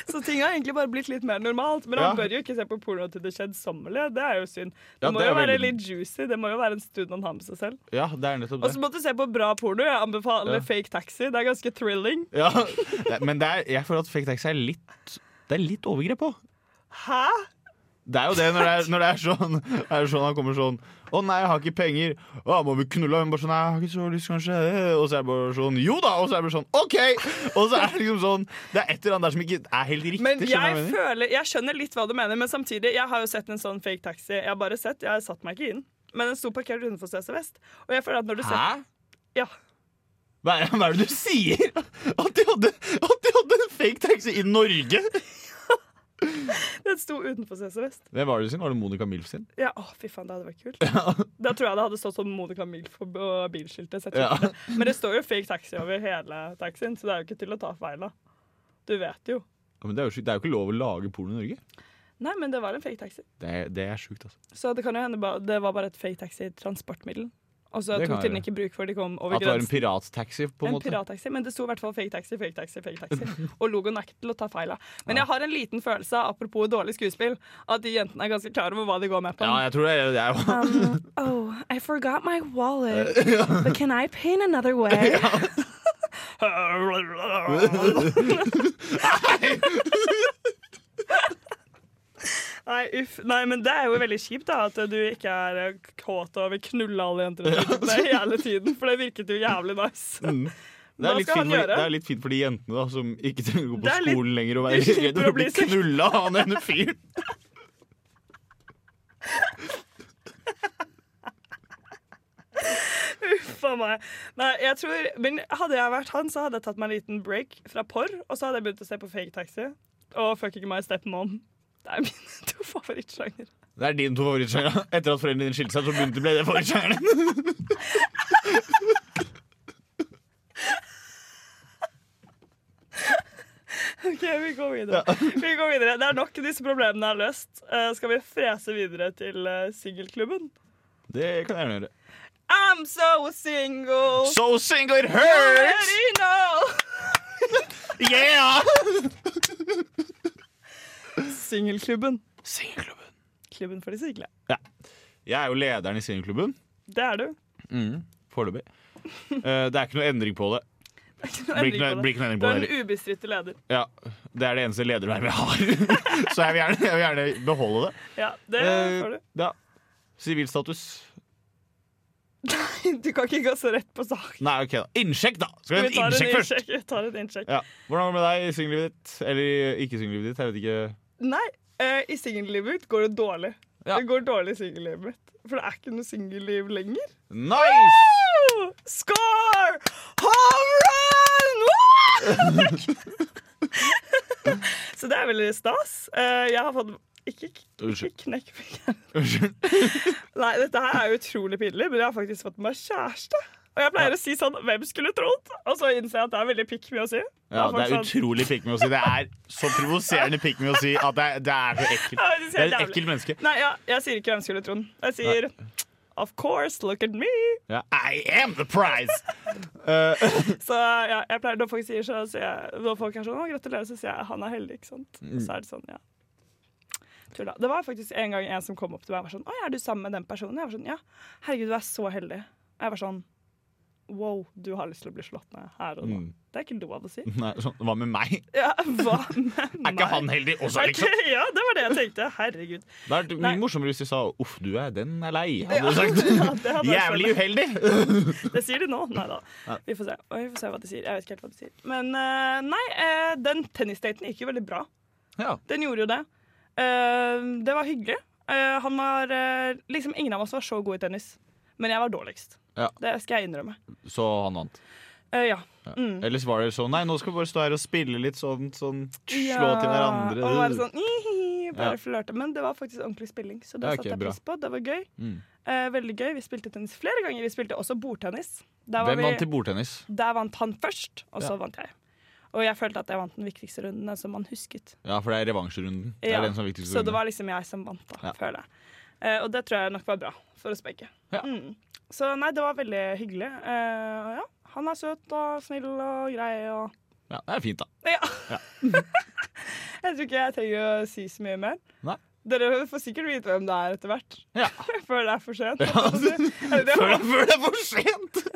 Så ting har egentlig bare blitt litt mer normalt. Men han Ja. bør jo ikke se på porno til det kjedsommelige. Det er jo synd. Det Ja, må det er jo være veldig- litt juicy. Det må jo være en stund han har med seg selv. Ja, det er nettopp Og så måtte du se på bra porno. Jeg anbefaler Ja. Fake Taxi. Det er ganske thrilling. Ja, det- men det er, jeg føler at fake taxi er litt Det er litt overgrep òg. Hæ? Det er jo det når det er, når det er, sånn, er det sånn Han kommer sånn 'Å nei, jeg har ikke penger.' 'Å, må vi knulle?' Hun bare sånn 'Nei, jeg har ikke så lyst, kanskje.' Eh, Og så er det bare sånn 'Jo da!' Og så er det bare sånn 'OK!' Og så er det liksom sånn Det er et eller annet der som ikke er helt riktig. Men skjønner du jeg hva jeg mener? føler, jeg skjønner litt hva du mener, men samtidig, jeg har jo sett en sånn fake taxi. Jeg har bare sett, jeg har satt meg ikke inn. Men den sto parkert utenfor CC Vest. Og jeg føler at når du ser Hæ? Ja. Hva er, hva er det du sier? At de, hadde, at de hadde en fake taxi i Norge? Den sto utenfor CC Vest. Hvem var det sin? Var det Monica Milf sin? Ja, å, fy faen, det hadde vært kult. Da tror jeg det hadde stått sånn Monica Milf på på bilskiltet. Så jeg tror Ja. ikke det. Men det står jo fake taxi over hele taxien, så det er jo ikke til å ta feil av. Du vet jo. Ja, men det er, jo, sykt. det er jo ikke lov å lage porno i Norge. Nei, men det var en fake taxi. Det er, det er sjukt, altså. Så det kan jo hende ba- det var bare et fake taxi-transportmiddel. Og så Det tok kan de den være. ikke i bruk før de kom over At det var grensen. en pirattaxi, på en, En måte. pirattaxi, men det sto i hvert fall fake taxi, fake taxi, fake taxi. Og logoen er ikke til å ta feil av. Men jeg har en liten følelse av, apropos dårlig skuespill, at de jentene er ganske klar over hva de går med på. Ja, jeg tror det er, det er jo Um, oh, I forgot my wallet. But can I pay in another way? Nei, uff. Nei, men det er jo veldig kjipt da, at du ikke er eh, kåt og vil knulle alle jenter og gutter med hele tiden, for det virket jo jævlig nice. Mm. Det er, Hva litt skal fint han for, gjøre? det er litt fint for de jentene da, som ikke trenger å Det gå på er litt- skolen lenger og de være slipper redd for å å bli bli sek- knulla av han ene fyren. For meg. Nei, jeg tror, men hadde jeg vært han, så hadde jeg tatt meg en liten break fra porr, og så hadde jeg begynt å se på fake taxi og fucking my stepmom. Det er mine to favorittsjanger. Det er din to favorittsjanger. Etter at foreldrene dine skilte seg, så begynte ble det favorittsjangeren din. OK, vi går videre. Vi går videre. Det er nok disse problemene er løst. Eh, skal vi frese videre til uh, singelklubben? Det kan jeg gjerne gjøre. I'm so single! So single it Already know! Yeah! Singelklubben. Singelklubben. Klubben for de single. Jeg er jo lederen i singelklubben. Det er du. Foreløpig. Eh, det er ikke noe endring på det. Det er ikke noe Blir endring ikke noe, på blir det. ikke noe endring Du på er det. en ubestridte leder. Ja, det er det eneste ledervervet jeg har. Så jeg vil gjerne, jeg vil gjerne beholde det. Ja, det Eh, får du. ja. Sivilstatus. Nei, du kan ikke gå så rett på sak. Nei, OK, da. Innsjekk, da! Skal vi Vi ha tar en en innsjekk først? innsjekk. Vi tar en innsjekk. Ja. Hvordan går det med deg i singellivet ditt? Eller ikke singellivet ditt, jeg vet ikke. Nei, eh, i singellivet mitt går det dårlig. Ja. Det går dårlig i singellivet mitt. For det er ikke noe singelliv lenger. Nice! Woo! Score! Home run! Woo! Så det er veldig stas. Eh, jeg har fått ikke, ikke Unnskyld. knekk fingeren. Unnskyld. Nei, dette her er utrolig pinlig, men jeg har faktisk fått meg kjæreste. Og jeg pleier å si sånn 'Hvem skulle trodd?' Og så innser jeg at det er veldig pikk mye å si. Ja, Da er det folk er sånn, utrolig pikk med å si. Det er så provoserende pikk med å si at det er, det er så ekkelt. Ja, det Det ser er et jævlig. ekkelt menneske. Nei, ja, jeg sier ikke 'Hvem skulle trodd'. Jeg sier 'Of course, look at me'. Ja. I am the prize! Så ja, jeg pleier, når folk sier så, så jeg, når folk er sånn, å, gratulerer, så sier jeg han er heldig, ikke sant? Mm. Så er det sånn, ja. Tulla. Det var faktisk en gang en som kom opp til meg og var sånn, å, er du sammen med den personen? Jeg var sånn, ja, herregud, du er så heldig. Jeg var sånn, wow, du har lyst til å bli slått ned her og nå. Mm. Det er ikke lov å si. Nei, sånn, hva med meg? Ja, hva med Er ikke han heldig også, Er liksom? ikke- ja, det var det jeg tenkte. Herregud. Det hadde vært Nei. mye morsommere hvis de sa 'uff, du er den er lei'. Hadde du Ja, sagt. det sånn. hadde vært Jævlig uheldig! Det sier de nå. Nei da. Vi får se. Oi, vi får se hva de sier. Jeg vet ikke helt hva de sier. Men eh, nei, eh, den tennisdaten gikk jo veldig bra. Ja. Den gjorde jo det. Eh, det var hyggelig. Eh, han var eh, Liksom ingen av oss var så gode i tennis, men jeg var dårligst. Ja. Det skal jeg innrømme. Så han vant. Eh, ja. Ellers var det sånn 'nei, nå skal vi bare stå her og spille litt sånn', sånn slå Ja, til Og hverandre. bare sånn «Ihihi», Bare Ja. flørte. Men det var faktisk ordentlig spilling, så det Ja, ok, satte jeg bra. pris på. Det var gøy. Mm. Eh, veldig gøy. Vi spilte tennis flere ganger. Vi spilte også bordtennis. Der var Hvem vi- vant til bordtennis? Der vant han først, og så Ja. vant jeg. Og jeg følte at jeg vant den viktigste runden, den som han husket. Ja, for det er revansjerunden. Det Ja, er den som er viktigst. Så det var liksom jeg som vant, da, Ja. føler jeg. Eh, og det tror jeg nok var bra for oss begge. Ja. Mm. Så nei, det var veldig hyggelig. Eh, og ja, han er søt og snill og grei og Ja, det er fint, da. Ja. jeg tror ikke jeg trenger å si så mye mer. Nei. Dere får sikkert vite hvem det er etter hvert. Ja. Før det er for sent. Eller, det- Før, før det er for sent!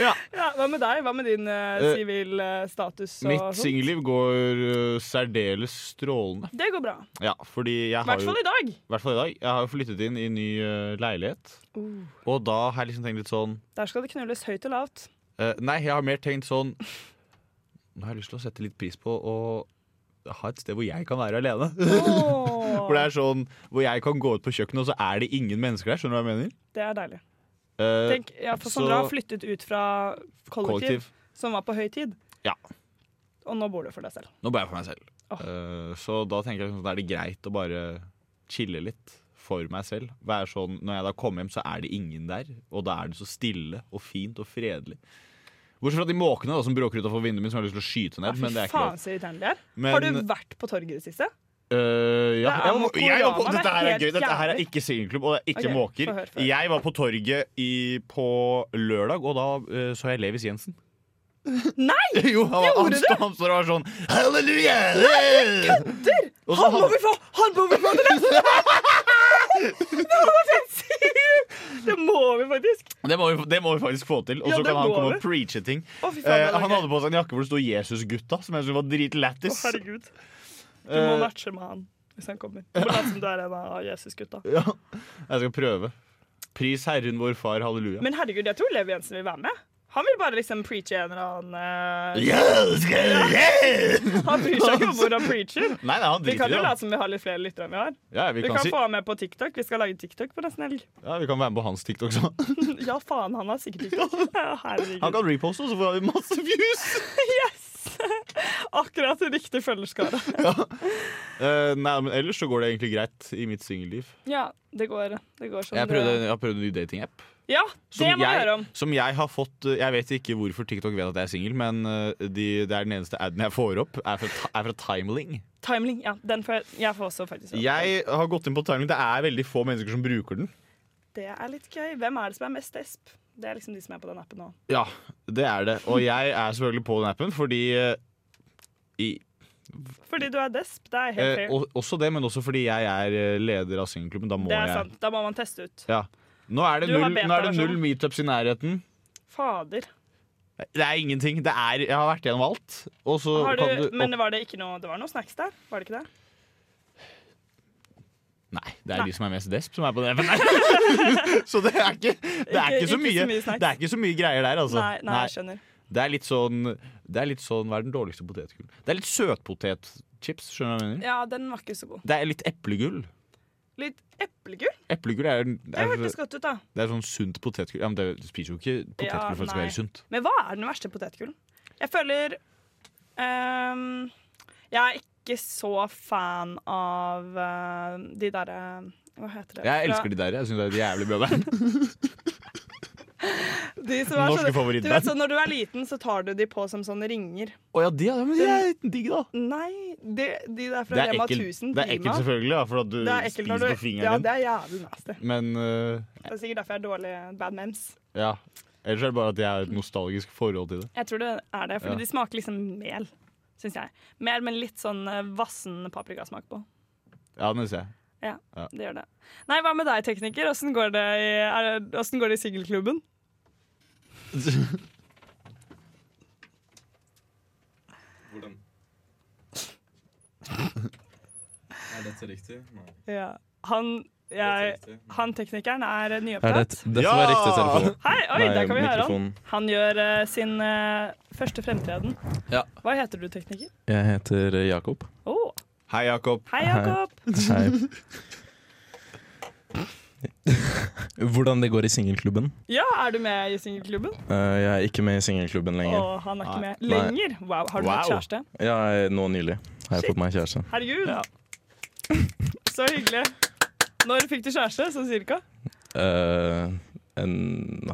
ja. Ja, hva med deg? Hva med din eh, sivil eh, status? og Mitt sånt? singelliv går øh, særdeles strålende. Det går bra. Ja, fordi jeg I har hvert jo fall i dag. I hvert fall i dag. Jeg har jo flyttet inn i ny øh, leilighet. Og da har jeg liksom tenkt litt sånn Der skal det knulles høyt og lavt. eh, Nei, jeg har mer tenkt sånn Nå har jeg lyst til å sette litt pris på å ha et sted hvor jeg kan være alene. Åh, Hvor det er sånn Hvor jeg kan gå ut på kjøkkenet, og så er det ingen mennesker der. Skjønner du hva jeg mener? det er deilig. Eh, Tenk, ja, for Sandra har flyttet ut fra kollektiv, kollektiv. som var på høy tid. Ja. Og nå bor du for deg selv. Nå bor jeg for meg selv. Åh. Eh, så da tenker jeg sånn, da er det greit å bare chille litt for meg selv. Være sånn, Når jeg da kommer hjem, så er det ingen der. Og da er det så stille og fint og fredelig. Bortsett fra de måkene da, som bråker utafor vinduet mitt, som jeg har lyst til å skyte ned. men det er ikke faen lov. så irriterende de er. Men- Har du vært på torget i det siste? Eh, ja, Det er jeg, jo må- jeg var på, korona, det er dette her er helt gøy. Dette her er jævlig. ikke singelklubb, og det er ikke Ok, måker. få høre, få høre. Jeg var på torget i, på lørdag, og da eh, så jeg Levis Jensen. Nei! jo, han, var- han, gjorde stod, han står og var sånn Halleluja! Kødder! Han må vi få! Han må vi få til neste! Det må vi faktisk! Det må, vi, det må vi faktisk få til. Og Ja, så det kan han må komme vi. og preache ting. Å, fy faen, det Eh, er han gøy. hadde på seg en jakke hvor det sto 'Jesusgutta', som jeg syntes var dritlættis. Herregud. Du må Eh, matche med han hvis han kommer. Du må late som du er en av Jesus-gutta. ja. Jeg skal prøve. Pris Herren vår far, halleluja. Men herregud, jeg tror Lev Jensen vil være med. Han vil bare liksom preache en eller annen eh, Ja, skal jeg- Han bryr seg ikke om hvor han preacher. Nei, nei, han Vi driter kan i jo det. late som vi har litt flere lyttere enn vi har. Ja, vi, Vi kan kan si, få ham med på TikTok. Vi skal lage TikTok på nesten helg. ja, vi kan være med på hans TikTok så. Ja, faen, han har sikkert TikTok. Ja, Han Herregud. kan reposte, og så får vi masse views! Yes! akkurat riktig følgerskare. Eh, nei, men ellers så går det egentlig greit i mitt singelliv. Ja, det går, det går som Jeg, prøvde- jeg har prøvd en ny datingapp. Ja, det Som må jeg jeg- høre om. Som jeg har fått eh, Jeg vet ikke hvorfor TikTok vet at jeg er singel, men eh, de, det er den eneste aden jeg får opp, er fra, er fra Timeling. Timeling. Ja, den får jeg, jeg får også faktisk høre. Jeg har gått inn på Timeling. Det er veldig få mennesker som bruker den. Det er litt gøy. Hvem er det som er mest esp? Det er liksom de som er på den appen nå. Ja, det er det. Og jeg er selvfølgelig på den appen fordi eh, i, Fordi du er desp. Det er helt eh, fair. og- Også det, men også fordi jeg er eh, leder av singelklubben. Da må Det er jeg sant. Da må man teste ut. Ja. Nå er det Du har null, nå er det beta-versjon. null meetups i nærheten. Fader. Det er ingenting. Det er, jeg har vært gjennom alt. Og så Har kan du, du men var det ikke noe Det var noe snacks der, var det ikke det? Nei, det er Nei. de som er mest desp som er på den appen der. så det er ikke, det er Ikke- ikke, så, ikke så mye, mye snacks. det er ikke så mye greier der, altså. Nei, nei, jeg skjønner. Det er litt sånn Det er litt sånn, Hva er den dårligste potetgull? Det er litt søtpotetchips, skjønner du hva jeg mener? Ja, den var ikke så god. Det er litt eplegull. Litt eplegull? Eplegull er, Det er, hørtes godt ut, da. det er sånn sunt potetgull. Ja, men det, du spiser jo ikke Ja, potetgull for at det skal nei. være sunt. Men hva er den verste potetgullen? Jeg føler ehm, Jeg er ikke så fan av eh, de derre Hva heter det? Jeg elsker de der. Jeg syns det er et jævlig bra band. de som er norske sånne- favorittband. Du vet, sånn, når du er liten, så tar du de på som sånne ringer. Å ja, de, ja, men de er digg, da. Nei, de, de der Det fra er Rema ekkelt, 1000. det er ekkelt Prima. selvfølgelig, da, for at du Det er ekkelt spiser når på du Ja, fingeren det din. er jævlig nasty. Men øh, Det er sikkert derfor jeg er dårlig bad mems. ja. Ellers er det bare at jeg har et nostalgisk forhold til det. Jeg tror det er det, fordi Ja. de smaker liksom mel, syns jeg. Mel med litt sånn eh, vassen paprikasmak på. Ja, den ser jeg. Ja, Ja. det gjør det. Nei, hva med deg, tekniker? Åssen går det i, er det- hvordan går det i singelklubben? Hvordan? Er dette riktig? Nei. Ja. Han, jeg, Dette er riktig. han teknikeren er Er det, nyopptatt. dette var riktig telefon. Hei, oi, Nei, der kan vi høre han. mikrofonen. Han gjør eh, sin eh, første fremtreden. Ja. Hva heter du, tekniker? Jeg heter eh, Jakob. Å, Hei, Jakob. hei, Jakob. Hei. Hvordan det går i singelklubben? Ja, er du med i singelklubben? Eh, jeg er ikke med i singelklubben Å, lenger. han er ikke med Nei. lenger. Wow, har du fått Wow. kjæreste? Jeg, nå nylig har jeg fått meg kjæreste. Herregud. Så hyggelig. Når fikk du kjæreste, sånn cirka? Eh, en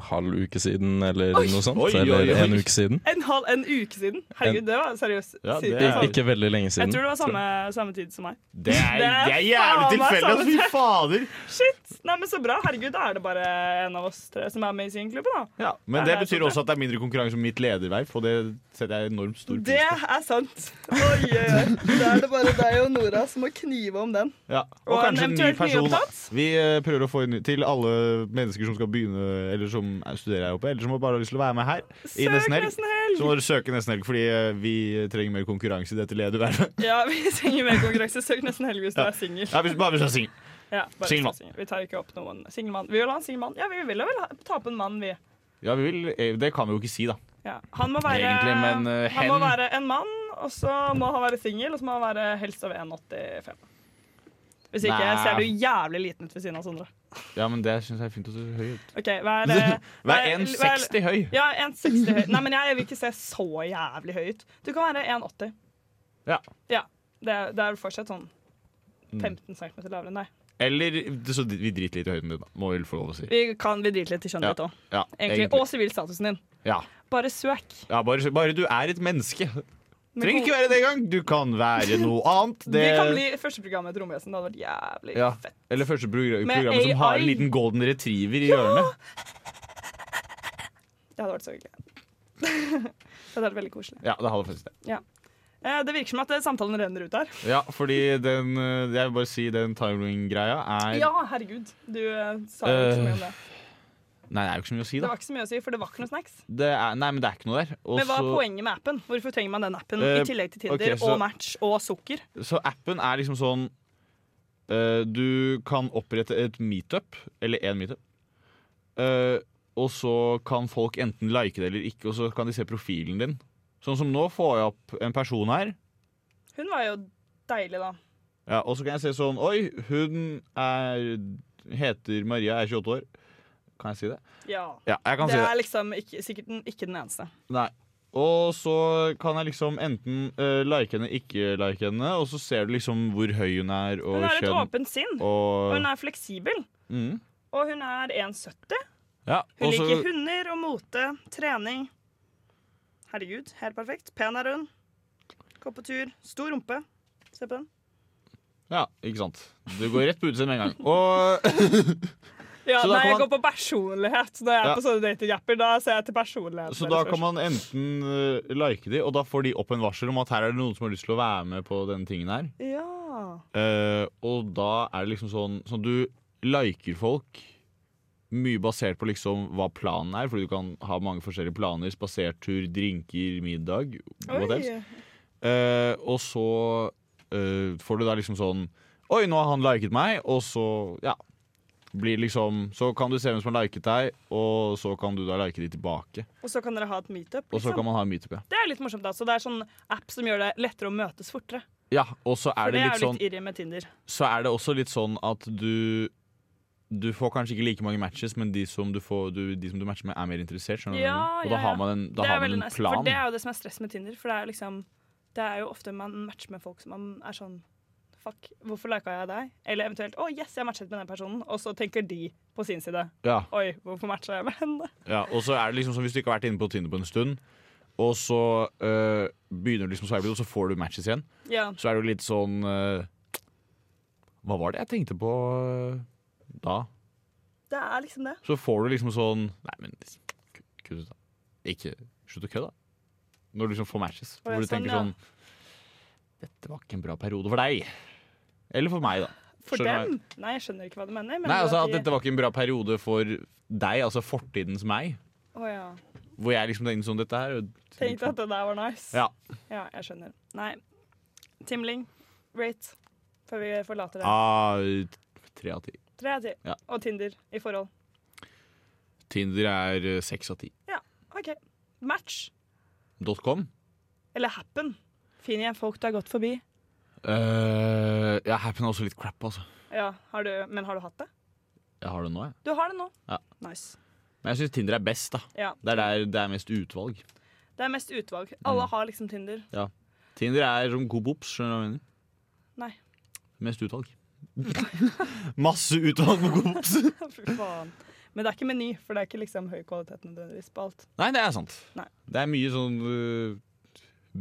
halv uke siden, eller noe sånt. Oi, oi, Eller oi. en uke siden. En halv en uke siden. Herregud, det var seriøst. Ja, sykt. det er- Ik ikke veldig lenge Jeg siden. tror det var samme, samme tid som meg. Det Det er, er det er jævlig faen meg tilfeldig! samme Altså, fy fader! Shit! Nei, men Så bra. Herregud, da er det bare en av oss tre som er med i singelklubben, da. Ja, men Nei, det nei, betyr sånn også at det er mindre konkurranse om mitt lederverv, og det setter jeg enormt stor Det pris på. er sant. Oi, oi, oi. Da er det bare deg og Nora som må knive om den. Ja. Og, Og en kanskje en ny eventuelt person. da. nyopptatt? Vi eh, prøver å få inn til alle mennesker som skal begynne Eller som er- studerer her oppe, eller som bare har lyst til å være med her i Søk nesten helg. nesten helg! Så må dere søke nesten helg, fordi eh, vi trenger mer konkurranse i dette ledervervet. Ja, vi trenger mer konkurranse. Søk nesten helg hvis du er singel. Ja, hvis, bare hvis jeg er singel. Ja, bare Singel mann. Vi tar ikke opp noen singel mann. Vi vil ha en singel mann. Ja, vi vil vel ha, ta på en mann, vi. Ja, vi vil, eh, det kan vi jo ikke si, da. Ja. Han, må være, Egentlig, men, eh, han må hen- være en mann, og så må han være singel, og så må han være helst over 1,85. Hvis ikke Nei. ser du jævlig liten ut ved siden av Sondre. Ja, men det syns jeg er fint å se høy ut. Ok, vær, eh, Vær vær- 1,60 høy. Ja, 1,60 høy. Nei, men jeg vil ikke se så jævlig høy ut. Du kan være 1,80. Ja. Ja, det, er- det er fortsatt sånn Mm. 15 cm lavere enn deg. Eller så vi driter litt i høyden din, da. Må vi få lov å si. Vi kan vi driter litt i kjønnet ditt òg, Ja, egentlig. Og sivilstatusen din. Ja. Bare søk. Ja, bare, bare du er et menneske. Men Trenger ikke være det engang. Du kan være noe annet. Vi kan bli første programmet til Romvesen. Det hadde vært jævlig Ja. fett. Eller første progr Med programmet som har en AI. liten golden retriever i hjørnet. Det hadde vært så hyggelig. det hadde vært veldig koselig. Ja, det hadde faktisk det. Eh, det virker som at eh, samtalen renner ut her. Ja, fordi den eh, Jeg vil bare si den timing-greia er Ja, herregud. Du eh, sa jo ikke så mye om Eh, det. Nei, det er jo ikke så mye å si, Det da. var ikke så mye å si, for det var ikke noe snacks. Det er, nei, men det er ikke noe der. Og Men hva er så- poenget med appen? Hvorfor trenger man den appen? Eh, I tillegg til Tinder ok, så- og Match og sukker. Så appen er liksom sånn eh, Du kan opprette et meetup, eller én meetup. Eh, og så kan folk enten like det eller ikke, og så kan de se profilen din. Sånn som nå får jeg opp en person her, Hun var jo deilig, da. ja, og så kan jeg se sånn Oi, hun er, heter Maria, er 28 år. Kan jeg si det? Ja. Ja, jeg kan Det si det. er liksom ikke, sikkert den, ikke den eneste. Nei. Og så kan jeg liksom enten eh, like henne, ikke like henne, og så ser du liksom hvor høy hun er, og Hun har et kjønn. åpent sinn, og Og, hun er fleksibel. mm, Og hun er 1,70. ja, Hun og så- liker hunder og mote, trening. Herregud, helt perfekt. Pen er hun. Går på tur. Stor rumpe. Se på den. Ja, ikke sant. Du går rett på utseendet med en gang. Og Ja, Så da nei, kan jeg man- går på personlighet når jeg er Ja. på sånne datingjapper. Da ser jeg til personlighet. Så da kan man enten eh, like de, og da får de opp en varsel om at her er det noen som har lyst til å være med på denne tingen her. Ja. Eh, og da er det liksom sånn Sånn du liker folk mye basert på liksom hva planen er, fordi du kan ha mange forskjellige planer. Spasertur, drinker, middag, what else. Oi. Eh, og så eh, får du da liksom sånn Oi, nå har han liket meg, og så ja. Blir liksom, så kan du se hvem som har liket deg, og så kan du da like de tilbake. Og så kan dere ha et meetup. Og så Liksom. kan man ha en meetup, ja. Det er litt morsomt. da, så Det er sånn app som gjør det lettere å møtes fortere. ja. Og så For er det det er litt jo sånn litt irri med Tinder. så er det også litt sånn at du Du får kanskje ikke like mange matches, men de som du, får, du, de som du matcher med, er mer interessert. Skjønner du? hva jeg Ja, ja, mener? Og da har ja. man en, da Det er har man veldig en nice, plan. For det er jo det som er stress med Tinder. For det er jo liksom Det er jo ofte man matcher med folk som man er sånn Fuck, hvorfor lika jeg deg? Eller eventuelt Å, yes, jeg matchet med den personen. Og så tenker de på sin side Ja, Oi, hvorfor matcha jeg med henne? ja. Og så er det liksom som hvis du ikke har vært inne på Tinder på en stund, og så øh, begynner du liksom å sveipe, og så får du matches igjen, Ja. så er det jo litt sånn øh, Hva var det jeg tenkte på øh, da? Det er liksom det. Så får du liksom sånn Nei, men liksom, k- kutt ut, da. Ikke Slutt å kødde, da. Når du liksom får matches. Å, ja, hvor du sånn, tenker ja. sånn Dette var ikke en bra periode for deg. Eller for meg, da. For Skjønner dem? Nei, jeg skjønner ikke hva du mener. men Nei, det altså at at de- dette var ikke en bra periode for deg, altså fortidens meg. Å ja. Hvor jeg liksom tenkte sånn Dette her er jo- Tenkte at det der var nice. Ja. Ja, jeg skjønner. Nei. Timling. Rate. Før vi forlater det. Ah, tre av ti. Tre av ti. Ja. Og Tinder i forhold. Tinder er eh, seks av ti. OK. Match. Dot com. Eller happen. Finn igjen folk du har gått forbi. Eh, ja, Happen er også litt crap, altså. Ja, har du, Men har du hatt det? Jeg har det nå, jeg. Du har det nå. Ja. Nice. Men jeg syns Tinder er best, da. Ja. Det er der det er mest utvalg. Det er mest utvalg. Alle har liksom Tinder. Tinder er som god bops, skjønner du hva jeg mener? Nei. Mest utvalg. Masse utvalg på god bops! Fy faen. Men det er ikke meny, for det er ikke liksom høy kvalitet nødvendigvis på alt. Nei, det er sant. Nei. Det er mye sånn øh,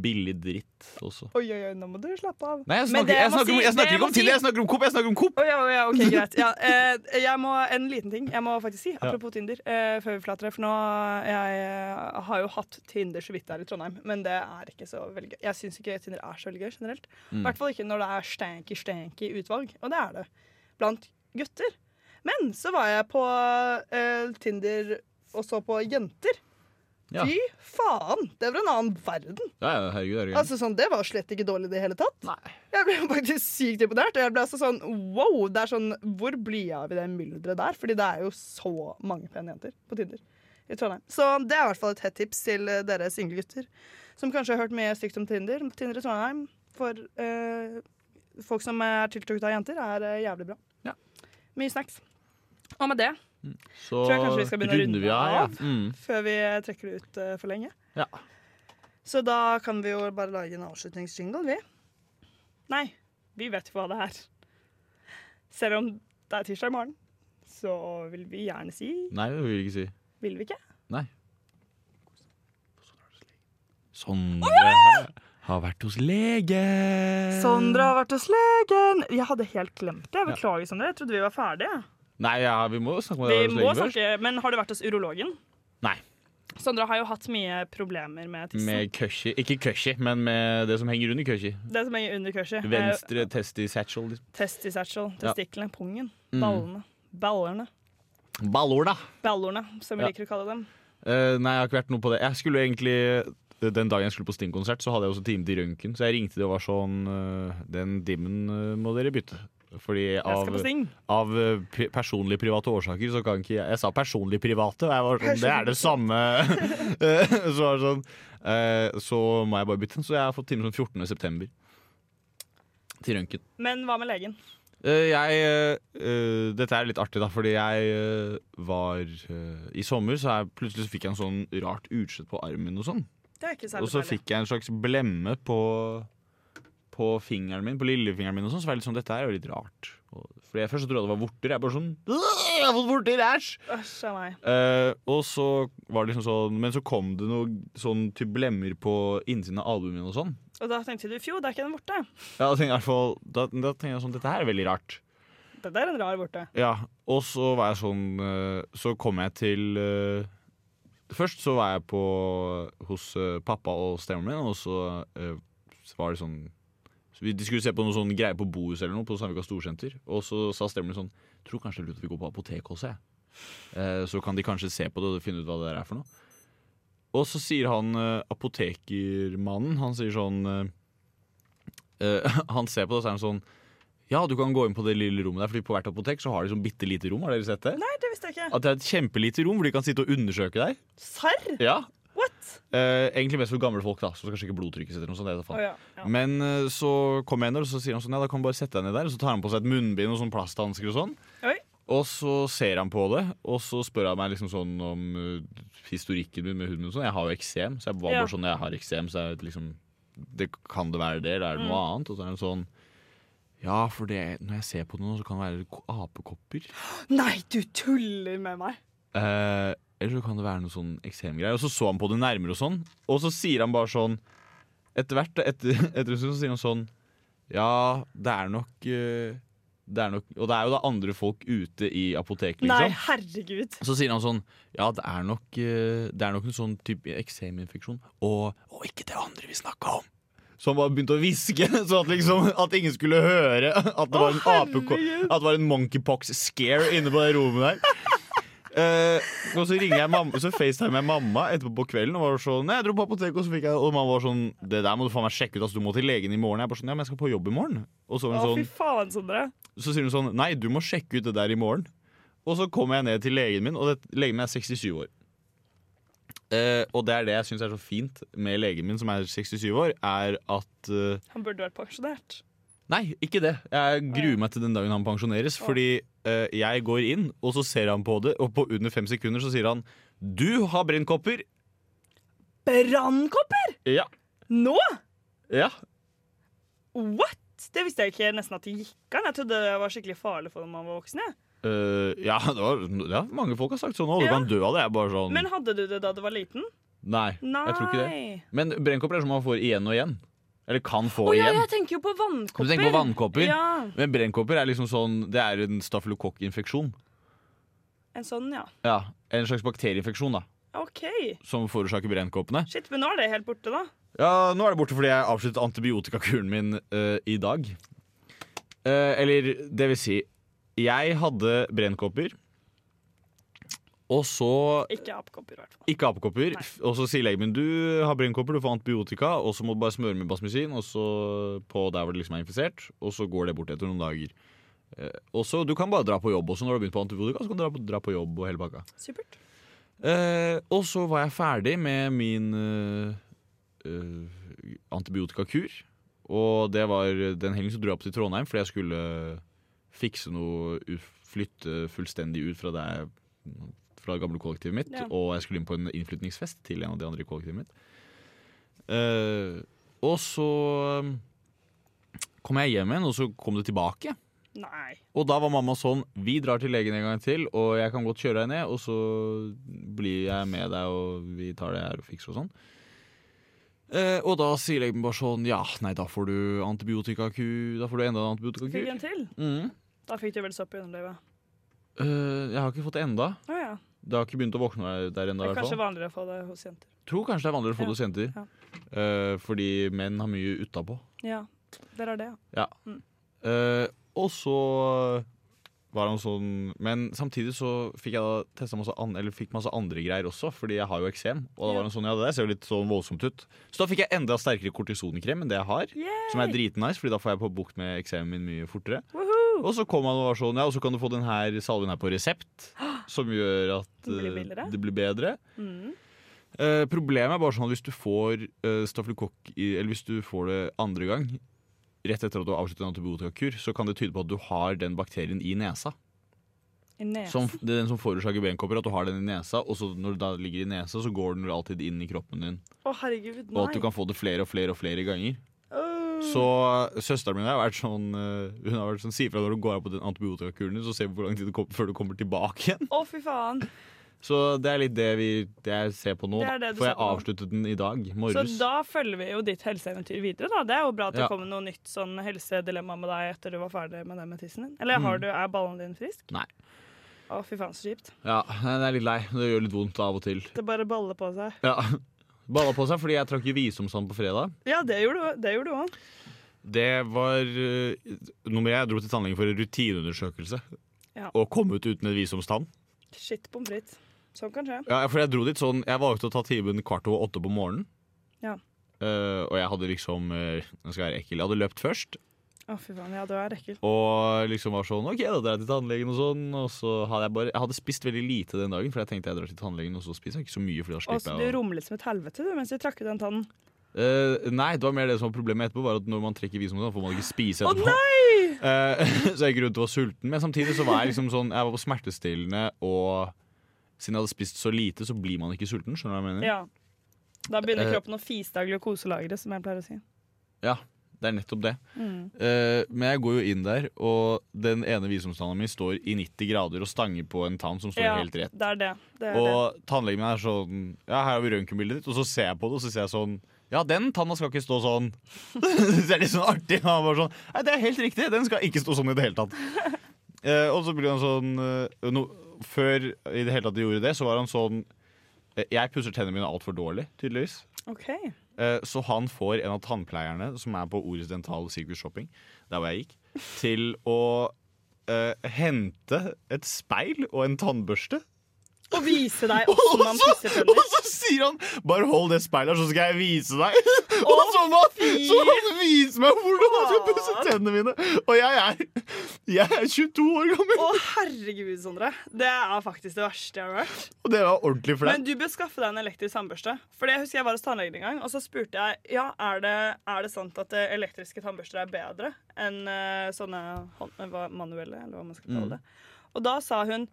billig dritt også. Oi, oi, oi, nå må du slappe av. Nei, jeg Men snakker, det må jeg snakker, si- om- jeg snakker det ikke om må si- Tinder, jeg snakker om Coop! Jeg snakker om Coop. Å ja, å ja, ok, greit. Ja, eh, jeg må, en liten ting jeg må faktisk si, apropos Tinder, eh, før vi forlater det. For nå jeg eh, har jo hatt Tinder så vidt her i Trondheim, men det er ikke så veldig gøy. Jeg syns ikke Tinder er så veldig gøy generelt. I hvert fall ikke når det er stanky, stanky utvalg, og det er det blant gutter. Men så var jeg på eh, Tinder og så på jenter. Ja. Fy faen! Det var en annen verden. Ja, ja, herregud, herregud. Altså sånn, Det var slett ikke dårlig i det hele tatt. Jeg ble faktisk sykt imponert. Og jeg ble altså sånn wow! det er sånn, Hvor blir jeg av i det mylderet der? Fordi det er jo så mange pene jenter på Tinder i Trondheim. Så det er i hvert fall et hett tips til eh, dere single gutter som kanskje har hørt mye stygt om Tinder. Tinder i Trondheim for eh, folk som er tiltrukket av jenter, er eh, jævlig bra. Ja. Mye snacks. Og med det, så tror jeg kanskje vi skal begynne å runde vi av. av. Ja. Mm. før vi trekker det ut eh, for lenge Ja. Så da kan vi jo bare lage en avslutningsjingle, vi. Nei, vi vet jo hva det er. Selv om det er tirsdag morgen, så vil vi gjerne si Nei, det vil jeg ikke si. Vil vi ikke? Nei. Sondre har- Sånn, eh, har vært hos lege. Sondre har vært hos legen! Jeg hadde helt glemt det. Beklager, Sondre. Jeg trodde vi var ferdige. Nei, ja, vi må jo snakke med Vi hos må legen først. snakke, men har du vært hos urologen? Nei. Sondre har jo hatt mye problemer med tissen. Med cushy. Ikke cushy, men med det som henger under cushy. Det som er under kurset. Venstre test i satchel. liksom. Testisatchel. Ja. Mm. Testiklene. Pungen. Ballene. Ballerne. Ballord, da! Ballorene, som vi Ja. liker å kalle dem. Eh, nei, jeg har ikke vært noe på det. Jeg skulle egentlig eh, Den dagen jeg skulle på Sting-konsert, så hadde jeg også time til røntgen. Så jeg ringte de og var sånn eh, Den dimmen eh, må dere bytte. Fordi Jeg av, skal på Sting. av eh, pri personlig private årsaker så kan ikke jeg Jeg sa personlig private, og jeg var sånn Det er det samme! Eh, så var det sånn eh, Så må jeg bare bytte den. Så jeg har fått time sånn 14. september. Til røntgen. Men hva med legen? Eh, jeg, eh, eh, dette er litt artig, da, fordi jeg eh, var eh, I sommer så er, plutselig så fikk jeg en sånn rart utslett på armen og sånn. Det er ikke Og særlig så farlig. fikk jeg en slags blemme på, på fingeren min, på lillefingeren min, og sånn, så var jeg litt sånn, dette her er jo litt rart. Og- Fordi jeg først så trodde jeg det var vorter. Jeg bare sånn «Øh, Jeg har fått vorter! Æsj! Æsj a meg. Eh, og så var det liksom sånn Men så kom det noe sånn typ blemmer på innsiden av albuen min og sånn. Og da tenkte du fjo, det er ikke den borte. Ja, da tenkte jeg i hvert fall da, da tenkte jeg sånn Dette her er veldig rart. Det der er en rar borte. Ja, og så var jeg sånn eh, Så kom jeg til eh, Først så var jeg på hos eh, pappa og stemoren min, og så eh, så var det sånn så vi, De skulle se på noen sånne greier på Bohus eller noe, på Sandvika Storsenter. Og så sa stemoren min sånn Tror kanskje det er lurt at vi går på apoteket også, jeg. Eh, så kan de kanskje se på det og finne ut hva det der er for noe. Og så sier han eh, apotekermannen Han sier sånn eh, eh, Han ser på det, og så er han sånn ja, du kan gå inn på det lille rommet der, fordi på hvert apotek så har de sånn bitte lite rom. Har dere sett det? Nei, det visste jeg ikke. At det er et kjempelite rom hvor de kan sitte og undersøke deg. Serr? Ja. What? Eh, egentlig mest for gamle folk, da, så kanskje ikke blodtrykket sitter. Noe sånt, det er det Å faen. ja. ja. Men eh, så kommer jeg inn der, og så sier han sånn, ja, da kan du bare sette deg ned der. Og så tar han på seg et munnbind og sånn plasthansker og sånn. Oi. Og så ser han på det, og så spør han meg liksom sånn om eh, historikken min med huden min og sånn. Jeg har jo eksem, så jeg var Ja. bare sånn, jeg har eksem, så jeg liksom det, Kan det være det, eller er det Mm. noe annet? Og så er han sånn ja, for det, når jeg ser på det nå, så kan det være ko- apekopper. Nei, du tuller med meg. Eh, eller så kan det være noe sånn eksemgreier. Og så så han på det nærmere og sånn. Og så sier han bare sånn Etter hvert, etter, etter en stund, så sier han sånn Ja, det er nok eh, Det er nok Og det er jo da andre folk ute i apoteket, Nei, liksom. herregud. Så sier han sånn Ja, det er nok, eh, det er nok en sånn type ekseminfeksjon. Og, og ikke det andre vi snakka om. Så han bare begynte å hviske, så at, liksom, at ingen skulle høre at det var en, apeko- herregud. at det var en monkeypox scare inne på det rommet der. Eh, og så ringer jeg mamma Så facetimer jeg mamma etterpå på kvelden. Og var sånn, nei, jeg dro på apoteket Og så fikk jeg Og mamma var sånn Det der må du faen meg sjekke ut. Altså, du må til legen i morgen. Jeg bare sånn, ja, men jeg skal på jobb i morgen. Og så Å, var hun sånn fy faen, Sondre. så sier hun sånn Nei, du må sjekke ut det der i morgen. Og så kommer jeg ned til legen min, og det, legen min er 67 år. Eh, og det er det jeg syns er så fint med legen min, som er 67 år, er at eh, Han burde vært pensjonert. Nei, ikke det. Jeg gruer meg til den dagen han pensjoneres. Fordi eh, jeg går inn, og så ser han på det, og på under fem sekunder så sier han Du har brennkopper. Brannkopper? Ja. Nå? Ja. What? Det visste jeg ikke nesten at det gikk an. Jeg trodde det var skikkelig farlig for når man var voksen. jeg. Eh, ja, det var, ja, mange folk har sagt sånn. Å, du Ja. kan dø av det. Jeg er bare sånn Men hadde du det da du var liten? nei, Nei. jeg tror ikke det. Men brennkopper er som man får igjen og igjen. Eller kan få Å ja, igjen. jeg tenker jo på Du vannkopper. tenker på vannkopper? Ja. Men brennkopper er liksom sånn Det er en stafylokokkinfeksjon. En sånn, ja. Ja, en slags bakterieinfeksjon da OK. som forårsaker brennkoppene. Shit, men nå er det helt borte, da. Ja, Nå er det borte fordi jeg avsluttet antibiotikakuren min eh, i dag. Eh, eller det vil si Jeg hadde brennkopper. Og så Ikke apekopper, i hvert fall. ikke apekopper. f- Og så sier legen min du har brennkopper, du får antibiotika, og så må du bare smøre med basmusin og så på der hvor det liksom er infisert, og så går det bort etter noen dager. Eh, og så Du kan bare dra på jobb også når du har begynt på antibiotika. Så kan du dra på, dra på jobb og hele pakka. Supert. Eh, og så var jeg ferdig med min eh, eh, antibiotikakur. Og det var den helgen så dro jeg opp til Trondheim fordi jeg skulle fikse noe u- Flytte fullstendig ut fra det, jeg- fra det gamle kollektivet mitt. Ja. Og jeg skulle inn på en innflytningsfest til en av de andre i kollektivet mitt. Eh, og så eh, kom jeg hjem igjen, og så kom det tilbake. Nei. Og da var mamma sånn Vi drar til legen en gang til, og jeg kan godt kjøre deg ned, og så blir jeg med deg, og vi tar det her og fikser og sånn. Eh, og da sier legen bare sånn Ja, nei, da får du antibiotikaku. Da får du enda en Fikk antibiotikaku. en til? Mm. Da fikk du vel sopp i underlivet. Eh, jeg har ikke fått det enda. Å ja. Det har ikke begynt å våkne der ennå. Det i er hvert kanskje fall. vanligere å få det hos jenter. Tror kanskje det er vanligere å få det hos jenter. Ja. Eh, fordi menn har mye utapå. Ja. Dere har det, ja. Eh, og så var han sånn Men samtidig så fikk jeg da testa masse, an, eller fikk masse andre greier også, fordi jeg har jo eksem. Og da Ja. var han sånn, ja det der ser jo litt sånn voldsomt ut. Så da fikk jeg enda sterkere kortisonkrem enn det jeg har. Som er dritnice, fordi da får jeg på bukt med eksemen min mye fortere. Woohoo! Og så kom han og var sånn, ja, og så kan du få den her salven her på resept, som gjør at Den blir eh, billigere. det blir bedre. Mm. Eh, problemet er bare sånn at hvis du får uh, stafylokokk i- Eller hvis du får det andre gang Rett etter at du har avsluttet en antibiotikakur Så kan det tyde på at du har den bakterien i nesa I nesen. Som, det er den som forårsaker benkopper, at du har den i nesa, og så når det da ligger i nesa, så går den jo alltid inn i kroppen din. Å, herregud, nei. Og at du kan få det flere og flere og flere ganger. Øh. Så søsteren min har vært sånn eh, Hun har vært sånn, Si fra når du går av på den antibiotikakuren din, så ser vi hvor lang tid det kommer før du kommer tilbake igjen. Å, fy faen. Så det er litt det, vi, det jeg ser på nå. Det er da. det du For ser jeg på nå. avsluttet den i dag Så morges. da følger vi jo ditt helseeventyr videre, da. Det er jo bra at det Ja. kommer noe nytt sånn helsedilemma med deg etter du var ferdig med det med tissen din. Eller har du, er ballen din frisk? Mm. Nei. Å, fy faen, så kjipt. Ja, den er litt lei. Det gjør litt vondt av og til. Det bare baller på seg. Ja. Balla på seg fordi jeg trakk jo visdomsand på fredag. Ja, det gjorde du- det gjorde du òg. Det var eh, nummer jeg dro til tannlegen for en rutineundersøkelse. Ja. Og kom ut uten en visdomstann. Shit pommes frites. Sånn kan skje. Ja, for jeg dro dit sånn Jeg valgte å ta timen kvart over åtte på morgenen. Ja. Eh, og jeg hadde liksom eh, Nå skal jeg være ekkel. Jeg hadde løpt først. Å, fy faen. Ja, du er ekkel. Og liksom var sånn OK, da drar jeg til tannlegen og sånn. Og så hadde jeg bare Jeg hadde spist veldig lite den dagen, for jeg tenkte jeg drar til tannlegen, og så spiser jeg ikke så mye. Fordi da Og slipper så jeg du å- rumlet som et helvete du, mens du trakk ut den tannen. Eh, nei, det var mer det som var problemet etterpå. Var at Når man trekker visum, så får man ikke spise Å etterpå. nei! Eh, så jeg gikk rundt og var sulten. Men samtidig så var jeg liksom sånn Jeg var på smertestillende, og siden jeg hadde spist så lite, så blir man ikke sulten. Skjønner du hva jeg mener? Ja. Da begynner Eh. kroppen å fise av glukoselageret, som jeg pleier å si. Det er nettopp det. Mm. Eh, men jeg går jo inn der, og den ene visumstanna mi står i 90 grader og stanger på en tann som står Ja, helt rett. det er det. det, er det. Og tannlegen min er sånn Ja, her har vi røntgenbildet ditt. Og så ser jeg på det, og så ser jeg sånn Ja, den tanna skal ikke stå sånn. det er litt sånn artig. Og han bare sånn Nei, det er helt riktig. Den skal ikke stå sånn i det hele tatt. Eh, og så blir han sånn eh, no, Før i det hele tatt de gjorde det, så var han sånn eh, Jeg pusser tennene mine altfor dårlig, tydeligvis. OK. Eh, Så han får en av tannpleierne som er på Oris Dental Sirkus Shopping, der hvor jeg gikk, til å eh, hente et speil og en tannbørste. Og vise deg åssen man pusser Og tenner. så sier han 'bare hold det speilet, her, så skal jeg vise deg'. og så må han, så må han vise meg hvordan han skal pusse tennene mine. Og jeg er, jeg er 22 år gammel. Å, herregud, Sondre. Det er faktisk det verste jeg har hørt. Og det var ordentlig Men flaut. du bør skaffe deg en elektrisk tannbørste. For jeg husker jeg var hos tannlegen en gang, og så spurte jeg ja, er det, er det sant at eh, elektriske tannbørster er bedre enn eh, sånne hånd, eh, hva- manuelle, eller hva man skal Mm. kalle det. Og da sa hun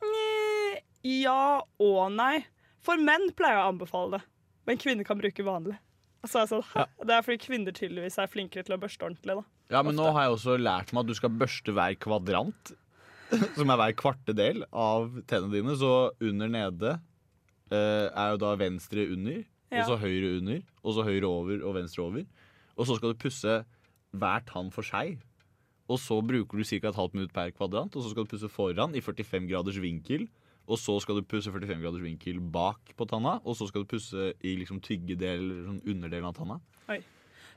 «Nja, ja og nei. For menn pleier jeg å anbefale det, men kvinner kan bruke vanlig. Og så er jeg sånn, Hæ? Det er fordi kvinner tydeligvis er flinkere til å børste ordentlig. da. Ja, men nå har jeg også lært meg at du skal børste hver kvadrant, som er hver kvartedel av tennene dine. Så under nede eh, er jo da venstre under, Ja. og så høyre under, og så høyre over og venstre over. Og så skal du pusse hver tann for seg. Og så bruker du ca. et halvt minutt per kvadrant, og så skal du pusse foran i 45 graders vinkel. Og så skal du pusse 45 graders vinkel bak på tanna, og så skal du pusse i liksom tyggedel, eller sånn underdelen av tanna.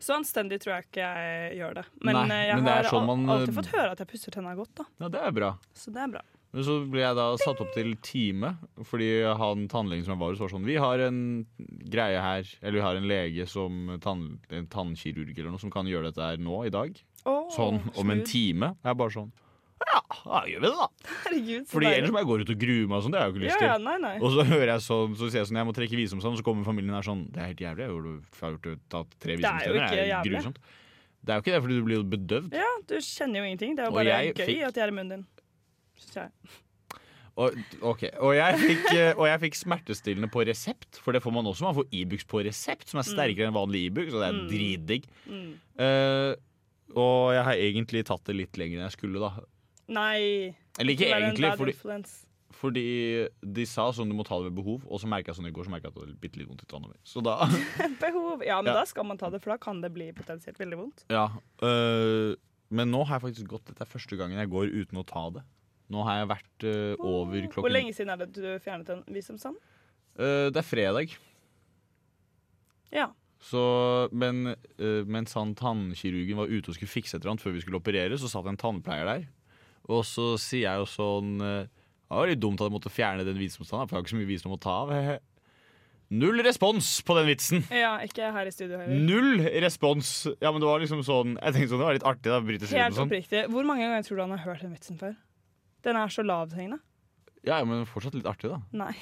Så anstendig tror jeg ikke jeg gjør det. Men Nei, eh, jeg men det er har sånn al- man, eh, alltid fått høre at jeg pusser tenna godt, da. Ja, det er bra. Så det er bra. Men så ble jeg da satt opp til time, fordi han tannlegen som jeg var hos, var sånn Vi har en greie her, eller vi har en lege som tann, en tannkirurg eller noe som kan gjøre dette her nå i dag. Å, Sånn om en smooth. time. Jeg er bare sånn Ja, da gjør vi det, da. Herregud, så Fordi deilig. ellers må jeg gå ut og grue meg og sånn. Det har jeg jo ikke Ja, lyst ja, til. nei, nei. Og så hører jeg sånn, så sier jeg sånn Jeg må trekke visumstand, og så kommer familien her sånn Det er helt jævlig. Jeg har jo jeg har gjort det, tatt tre Det er jo visumstander. Det er ikke jo jævlig. grusomt. Det er jo ikke det, fordi du blir jo bedøvd. Ja, du kjenner jo ingenting. Det er jo Og bare jeg gøy fikk- at de er i munnen din. Synes jeg. Og, ok, og jeg, fikk, eh, og jeg fikk smertestillende på resept, for det får man også. Man får Ibux på resept, som er sterkere enn vanlig Ibux, og det er dritdigg. Mm. Eh, og jeg har egentlig tatt det litt lenger enn jeg skulle, da. Nei. Eller ikke det er en egentlig, bad fordi, influence. fordi de sa sånn du må ta det ved behov, og så merka jeg sånn i går, så merka jeg at det hadde bitte litt vondt i tanna mi. Så da Behov. Ja, men Ja. da skal man ta det, for da kan det bli potensielt veldig vondt. Ja. eh, men nå har jeg faktisk gått Dette er første gangen jeg går uten å ta det. Nå har jeg vært eh, over klokken Hvor lenge siden er det du fjernet en visumstand? Eh, Det er fredag. Ja. Så, men eh, mens han tannkirurgen var ute og skulle fikse et eller annet før vi skulle operere, så satt en tannpleier der. Og så sier jeg jo sånn eh, Det var litt dumt at jeg måtte fjerne den visdomstannen, for jeg har ikke så mye visdom å ta av. hehe». Null respons på den vitsen! Ja, ikke her i studio heller. Null respons! Ja, men det var liksom sånn Jeg tenkte sånn, det var litt artig, da. British Helt sånn. oppriktig. Hvor mange ganger tror du han har hørt den vitsen før? Den er så lavthengende. Ja, ja, men fortsatt litt artig, da. Nei.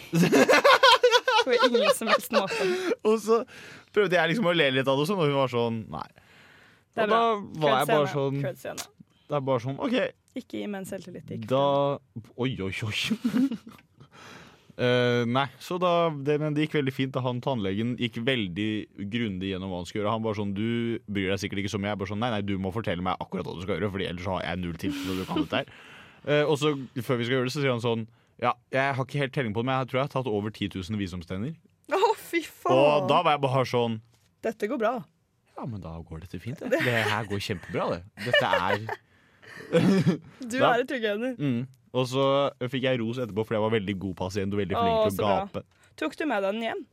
På ingen som helst måte. Og så prøvde jeg liksom å le litt av det, og sånn, og hun var sånn Nei. Det er Og da bra. var jeg bare Kødscene. sånn Det er bare sånn, ok, Ikke gi menn selvtillit. det Gikk Da Oi, oi, oi. Eh, nei, så da det, Men det gikk veldig fint. da Han tannlegen gikk veldig grundig gjennom hva han skulle gjøre. Han bare sånn Du bryr deg sikkert ikke så mye. Jeg bare sånn Nei, nei, du må fortelle meg akkurat hva du skal gjøre, Fordi ellers har jeg null tips når du kan dette her. Eh, og så, før vi skal gjøre det, så sier han sånn Ja, jeg har ikke helt telling på det, men jeg tror jeg har tatt over 10 000 visdomstenner. Å, fy faen! Og da var jeg bare sånn Dette går bra. Ja, men da går dette fint, det. Det her går kjempebra, det. Dette er Du Da- er et trygghjemmer. Mm. Og så fikk jeg ros etterpå, for jeg var veldig god pasient og veldig Å, flink til å så gape. Tok du med deg den hjem?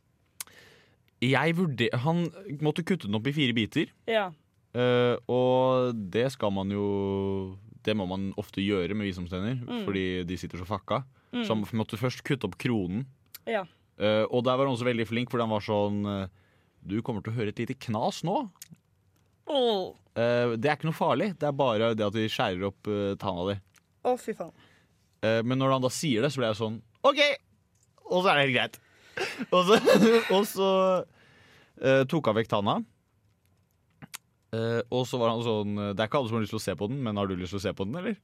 Jeg vurder... Han måtte kutte den opp i fire biter, Ja. eh, og det skal man jo Det må man ofte gjøre med visdomstenner, fordi de sitter så fakka. Så han måtte først kutte opp kronen, ja. eh, og der var han også veldig flink, fordi han var sånn eh, Du kommer til å høre et lite knas nå. Å, Eh, det er ikke noe farlig, det er bare det at de skjærer opp uh, tanna di. Å, fy faen. Eh, Men når han da sier det, så ble jeg sånn OK! Og så er det helt greit. Og så, og så eh, tok han vekk tanna. Eh, og så var han sånn Det er ikke alle som har lyst til å se på den, men har du lyst til å se på den, eller?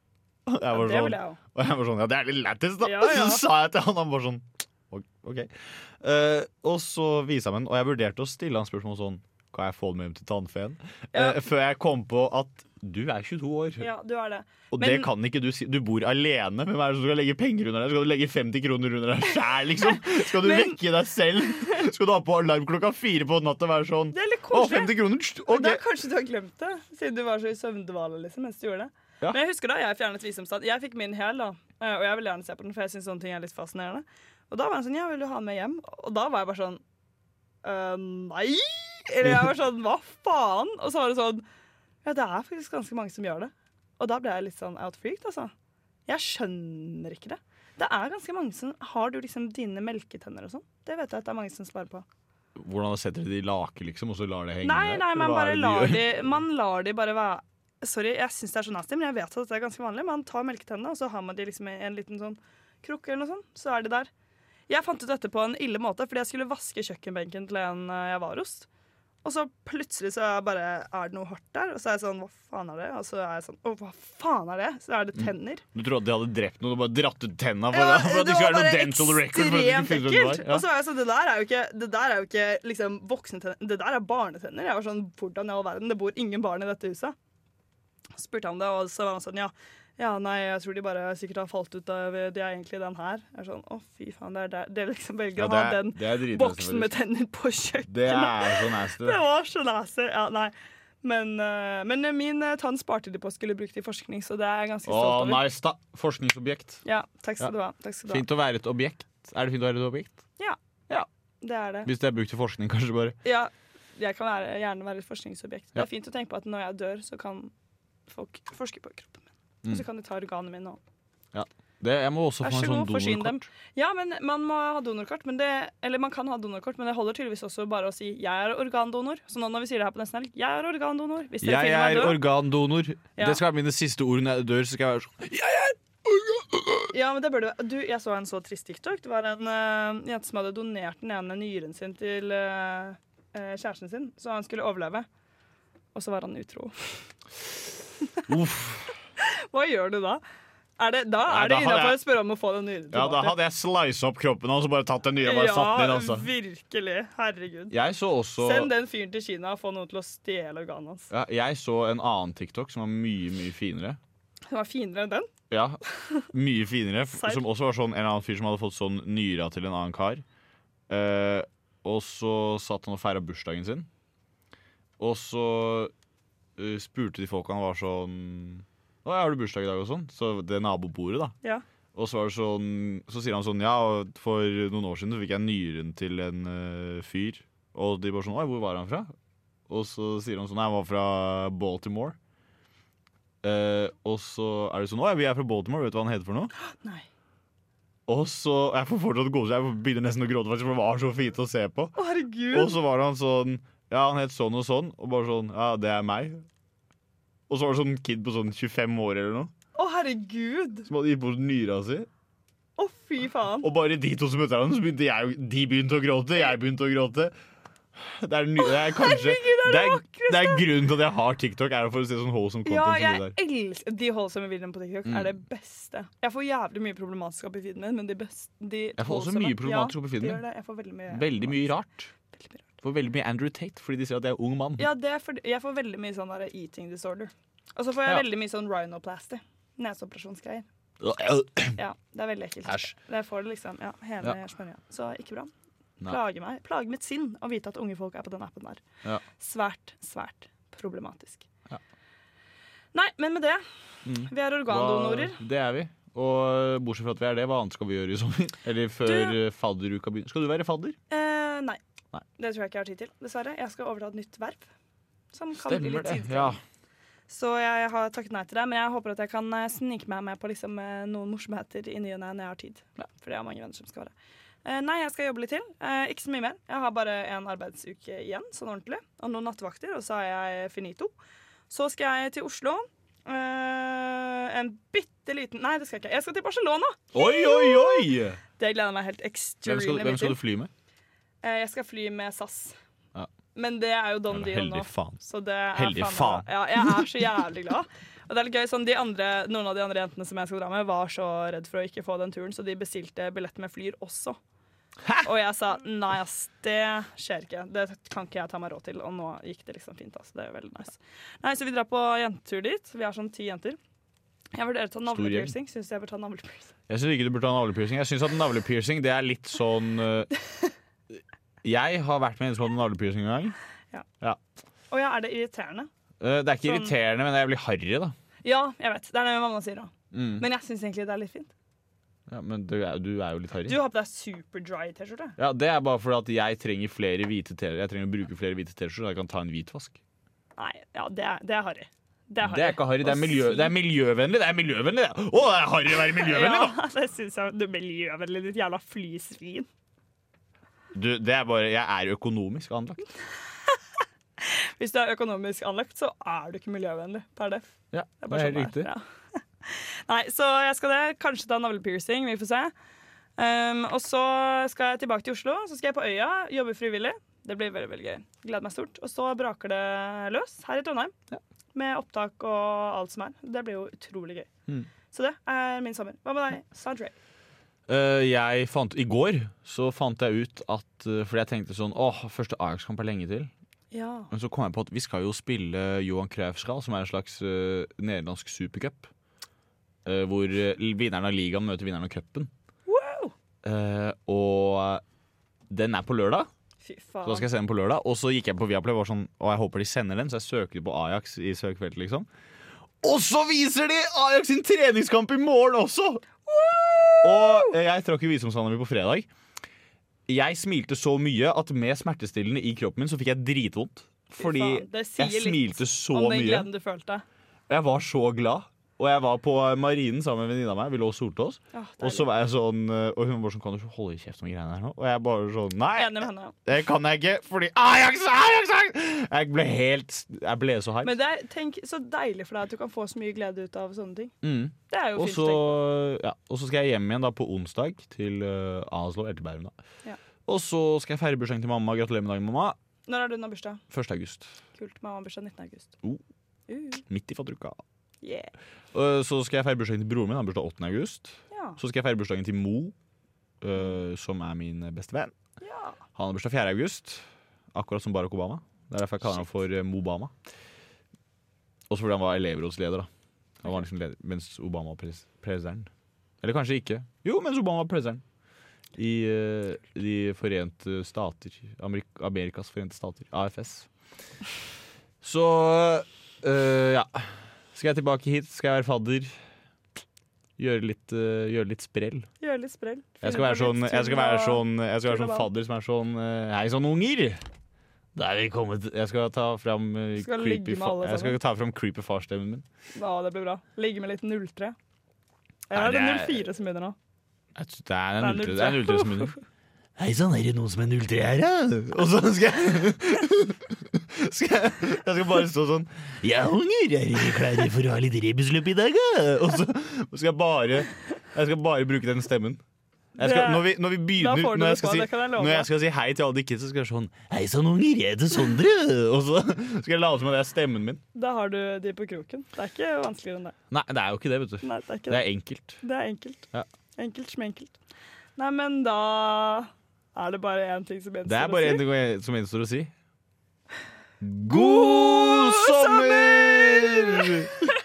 Og jeg var Det sånn, vil jeg òg. og jeg var sånn Ja, det er litt lættis, da. Ja, Og ja. Så sa jeg til han, han bare sånn «Ok, OK. Eh, og så viste jeg meg den, og jeg vurderte å stille han spørsmål sånn Kan jeg få den med hjem til tannfeen? Ja. Eh, før jeg kom på at du er 22 år. Ja, du er det. Og Men- det kan ikke du si. Du bor alene. Hvem er det som skal legge penger under deg? Skal du legge 50 kroner under deg sjæl, liksom? Skal du Men- vekke deg selv? Skal du ha på alarm klokka fire på natta og være sånn Det er litt Å, koselig. 50 kroner! Tst, Men Da ok. kanskje du har glemt det, siden du var så i søvndvale liksom, mens du gjorde det. Ja. Men jeg husker da jeg fjernet visumstand. Jeg fikk min hæl, da. eh, Og jeg vil gjerne se på den, for jeg syns sånne ting er litt fascinerende. Og da var han sånn Ja, vil du ha den med hjem? Og da var jeg bare sånn «Eh, Nei! Eller jeg var sånn Hva faen? Og så var det sånn Ja, det er faktisk ganske mange som gjør det. Og da ble jeg litt sånn outfreaked, altså. Jeg skjønner ikke det. Det er ganske mange som Har du liksom dine melketenner og sånn? Det vet jeg at det er mange som sparer på. Hvordan setter de det i lake, liksom, og så lar det henge? Nei, der? nei, man Hva er bare det lar gjør? de, man lar de bare være Sorry, jeg syns det er så nasty, men jeg vet at det er ganske vanlig. Man tar melketennene, og så har man de liksom i en liten sånn krukke eller noe sånt. Så er de der. Jeg fant ut dette på en ille måte, fordi jeg skulle vaske kjøkkenbenken til en eh, jeg var hos. Og så plutselig så er, bare, er det noe hardt der, og så er jeg sånn Hva faen er det? Og så er jeg sånn Å, hva faen er det? Så er det tenner. Du trodde de hadde drept noen og bare dratt ut tenna for, Ja, for at det var ikke var bare noe dental record? For at de ikke ekstremt finner ut hvem ekkelt. det var. Og så var jeg sånn, det der er jo ikke, det der er jo ikke liksom, voksne tenner, det der er barnetenner. Jeg var sånn, hvordan i all verden, det bor ingen barn i dette huset. Så spurte han det, og så var han sånn, ja, ja, nei, jeg tror de bare sikkert har falt ut av, de er egentlig den her. Jeg er sånn, å fy faen, det er der, det liksom velger Ja, å ha det er- den det er dritnasty, boksen med faktisk. tenner på kjøkkenet. Det er så nasty. Det var så nasty. Ja, nei. Men, eh, men min eh, tann sparte de på å skulle brukt i forskning, så det er jeg ganske Å, stolt over. nice, da. Forskningsobjekt. Ja, takk skal du ha. Takk skal du ha. Fint å være et objekt. Er det fint å være et objekt? Det er det. Hvis det er brukt til forskning, kanskje bare. Ja, jeg kan være, gjerne være et forskningsobjekt. Det Ja. er fint å tenke på at når jeg dør, så kan folk forske på kroppen min. Og Mm. så kan de ta organene mine òg. Det, jeg må også Vær få en så sånn god, forsyn dem. donorkort. Ja, men man må ha donorkort. Men det, eller man kan ha donorkort, men det holder tydeligvis også bare å si 'jeg er organdonor'. Så nå når vi sier det her på nesten helg, 'jeg er organdonor'. Hvis dere Jeg finner meg er død. organdonor. Ja. Det skal være mine siste ord når jeg dør. Så skal jeg være sånn Ja, men det burde være. Du, jeg så en så trist TikTok. Det var en eh, jente som hadde donert den ene nyren sin til eh, eh, kjæresten sin, så han skulle overleve. Og så var han utro. Uff. Hva gjør du da? Er det, da Nei, er da det hadde innafor jeg- å spørre om å få den nyren Ja, da hadde jeg slisa opp kroppen hans og bare tatt den nye og bare satt den inn. ja, Altså. virkelig. Herregud. Jeg så også Send den fyren til Kina og få noen til å stjele organet hans. ja, Jeg så en annen TikTok som var mye, mye finere. Den var finere enn den. Ja, mye finere. f- Serr. Som også var sånn en annen fyr som hadde fått sånn nyra til en annen kar. Eh, og så satt han og feira bursdagen sin. Og så eh, spurte de folka han var sånn Å, ja, har du bursdag i dag? og sånn. Så det nabobordet, da. Ja. Og så, var det sånn, så sier han sånn Ja, og for noen år siden så fikk jeg nyren til en eh, fyr. Og de bare sånn Oi, hvor var han fra? Og så sier han sånn «Nei, Han var fra Baltimore. Eh, og så er det sånn Å ja, vi er fra Baltimore. Vet du hva han heter for noe? Nei. Og så Jeg får fortsatt gode Jeg begynner nesten å gråte, faktisk, for det var så fint å se på. Å, herregud. Og så var han sånn Ja, han het sånn og sånn. Og bare sånn Ja, det er meg. Og så var det sånn kid på sånn 25 år eller noe Å, herregud. som hadde gitt bort nyra si. Å, fy faen. Og bare de to som møtte hverandre, så begynte jeg, de begynte å gråte, jeg begynte å gråte. Det er, ny, det er kanskje herregud, det det er er, det vakreste! det er grunnen til at jeg har TikTok, er for å se sånn wholesome content. Ja, som jeg det der. elsker De holdsomme videoene på TikTok Mm. er det beste. Jeg får jævlig mye problematisk opp i feeden min, men de beste de Jeg får også holdsomme- mye problematisk opp i feeden Ja, det min. gjør det. Jeg får veldig mye Veldig mye rart. Veldig mye rart. For veldig mye Andrew Tate, fordi de ser at jeg er ung mann. Ja, det er fordi- jeg får veldig mye sånn der eating disorder. Og så får jeg Ja. veldig mye sånn rhinoplasty. Neseoperasjonsgreier. Ja, det er veldig ekkelt. Æsj. Det får det liksom, ja, hele Ja. spenningen. Så ikke bra. Nei. Plager meg, plager mitt sinn å vite at unge folk er på den appen der. Ja. Svært, svært problematisk. Ja. Mm. Nei, men med det Vi er organdonorer. Hva- Det er vi. Og bortsett fra at vi er det, hva annet skal vi gjøre i sommer? Eller før Du- eh, fadderuka begynner. Skal du være fadder? Eh, nei. Nei. Det tror jeg ikke jeg har tid til, dessverre. Jeg skal overta et nytt verv. Som kan bli Stemmer litt det. tidkrevende. Ja. Så jeg har takket nei til det, men jeg håper at jeg kan eh, snike meg med på liksom, eh, noen morsomheter i ny og ne når jeg har tid. For det har mange venner som skal være. Eh, nei, jeg skal jobbe litt til. Eh, ikke så mye mer. Jeg har bare en arbeidsuke igjen, sånn ordentlig. Og noen nattevakter, og så er jeg finito. Så skal jeg til Oslo. Eh, en bitte liten Nei, det skal jeg ikke. Jeg skal til Barcelona! Oi, oi, oi! Det gleder jeg meg helt Hvem skal, extremely du- mye hvem skal til. du fly med? Eh, jeg skal fly med SAS. Ja. Men det er jo Don Jævla Dio nå. heldig faen. Så det er Heldig faen. faen. meg- Ja, jeg er så jævlig glad. Og det er litt gøy, sånn, de andre, Noen av de andre jentene som jeg skal dra med, var så redd for å ikke få den turen, så de bestilte billett med Flyr også. Og jeg sa nei, ass, det skjer ikke. Det kan ikke jeg ta meg råd til. Og nå gikk det liksom fint. Ass. Det er veldig nice. Nei, Så vi drar på jentetur dit. Vi er sånn ti jenter. Jeg vurderer å ta Stor gjeng. navlepiercing. Syns jeg bør ta navlepiercing. Jeg syns ikke du burde ha navlepiercing. Jeg synes at navlepiercing det er litt sånn eh, Jeg har vært med en som hadde navlepiercing en gang. Å ja, er det irriterende? Eh, det er ikke Sånn. irriterende, men jeg blir harry, da. Ja, jeg vet. Det er det mamma sier òg. Mm. Men jeg syns egentlig det er litt fint. Ja, men du er, du er jo litt harry. Du har på deg super dry T-skjorte. Ja, Det er bare fordi at jeg trenger flere hvite T-skjorter. Jeg trenger å bruke flere hvite T-skjorter, så jeg kan ta en hvitvask. Nei, ja, det er, det er harry. Det er, Det er ikke harry, det er, miljø, det er miljøvennlig. Det er miljøvennlig, det! Å, det er harry å være miljøvennlig, da! Ja, det syns jeg. Du miljøvennlig, ditt jævla flysvin. Du, det er bare Jeg er jo økonomisk anlagt. Hvis du er økonomisk anlagt, så er du ikke miljøvennlig per def. Ja, Det er det bare er helt sånn det riktig. er. Ja. Nei, så jeg skal det. Kanskje ta navlepiercing, vi får se. Um, og så skal jeg tilbake til Oslo, så skal jeg på Øya, jobbe frivillig. Det blir veldig, veldig gøy. Gleder meg stort. Og så braker det løs her i Trondheim. Med opptak og alt som er. Det blir jo utrolig gøy. Mm. Så det er min sommer. Hva med deg, Sandre? Eh, jeg fant, I går så fant jeg ut at eh, Fordi jeg tenkte sånn Åh, første Ajax-kamp er lenge til. Ja. Men så kom jeg på at vi skal jo spille Johan Cruyff-skall, som er en slags eh, nederlandsk supercup. eh, hvor eh, vinneren av ligaen møter vinneren av cupen. Wow! Eh, og den er på lørdag, Fy så da faen. skal jeg se den på lørdag. Og så gikk jeg på Viaplay og var sånn Og jeg håper de sender den, så jeg søker på Ajax i søkefeltet, liksom. Og så viser de Ajax sin treningskamp i morgen også! Og eh, jeg trakk jo visumsanda mi på fredag. Jeg smilte så mye at med smertestillende i kroppen min så fikk jeg dritvondt. Fordi faen, det sier jeg litt smilte så Om den mye. gleden du følte. Jeg var så glad. Og jeg var på marinen sammen med en venninne av meg. Vi lå og solte oss. Ja, Og så var jeg sånn eh, Og hun var sånn Kan du ikke holde kjeft om greiene her nå? Og jeg bare sånn Nei! Enig med henne. Det kan jeg ikke, fordi Ajax, Ajax, Ajax! Jeg ble helt Jeg ble så hype. Men det er, tenk, så deilig for deg at du kan få så mye glede ut av sånne ting. Mm. Det er jo Og fint. så å tenke. ja, og så skal jeg hjem igjen da på onsdag til uh, Aslo etter Bærum. da. Ja. Og så skal jeg feire bursdagen til mamma. Gratulerer med dagen, mamma. Når er du har bursdag? 1. august. Kult. Mamma har bursdag 19. august. Oh. Uh, Midt i fadderuka. yeah. Uh, så skal jeg feire bursdagen til broren min. Han har bursdag 8. august. Ja. Så skal jeg feire bursdagen til Mo, uh, som er min beste venn. ja. Han har bursdag 4. august, akkurat som Barack Obama. Det er derfor jeg kaller han for eh, Mobama. Også fordi han var elevrådsleder. da Han var liksom leder mens Obama var pres presidenten. Eller kanskje ikke. Jo, mens Obama var presidenten. I eh, De forente stater. Amerik Amerikas forente stater. AFS. Så eh, ja. Skal jeg tilbake hit? Skal jeg være fadder? Gjøre litt, eh, gjøre litt sprell. Gjør litt sprell. Jeg skal være sånn, jeg skal være sånn, jeg skal tull være sånn og fadder som er sånn eh, Hei sånn, unger! Da er vi kommet Jeg skal ta fram eh, Skal ligge creepy, med fa alle jeg skal ta fram creepy farstemmen min. Ja, det blir bra. Ligge med litt 03. sånn- Nei, Eller er det det er- 04 som begynner nå? Jeg tror- Det er en Det er ultre- null det er en ultre som begynner. Hei sann, er det noen som er 03 her, da? Og så skal jeg skal jeg, jeg skal bare stå sånn Ja, unger, er dere klare for å ha litt rebusløp i dag, da? Og så skal jeg bare Jeg skal bare bruke den stemmen. Jeg skal, Det- når, vi, når vi Da begynner får du når jeg, det skal på, si, det kan jeg love. når jeg skal si hei til alle de kids, så skal jeg sånn Hei sann, unger, jeg heter Sondre! Og så skal jeg late som at det er stemmen min. Da har du de på kroken. Det er ikke vanskeligere enn det. Nei, det er jo ikke det, vet du. Nei, det er ikke det. Det er enkelt. Det er enkelt. Ja. Enkelt smenkelt. Nei, men da er det bare én ting som gjenstår Det er bare å si. en ting som gjenstår å si. God sommer!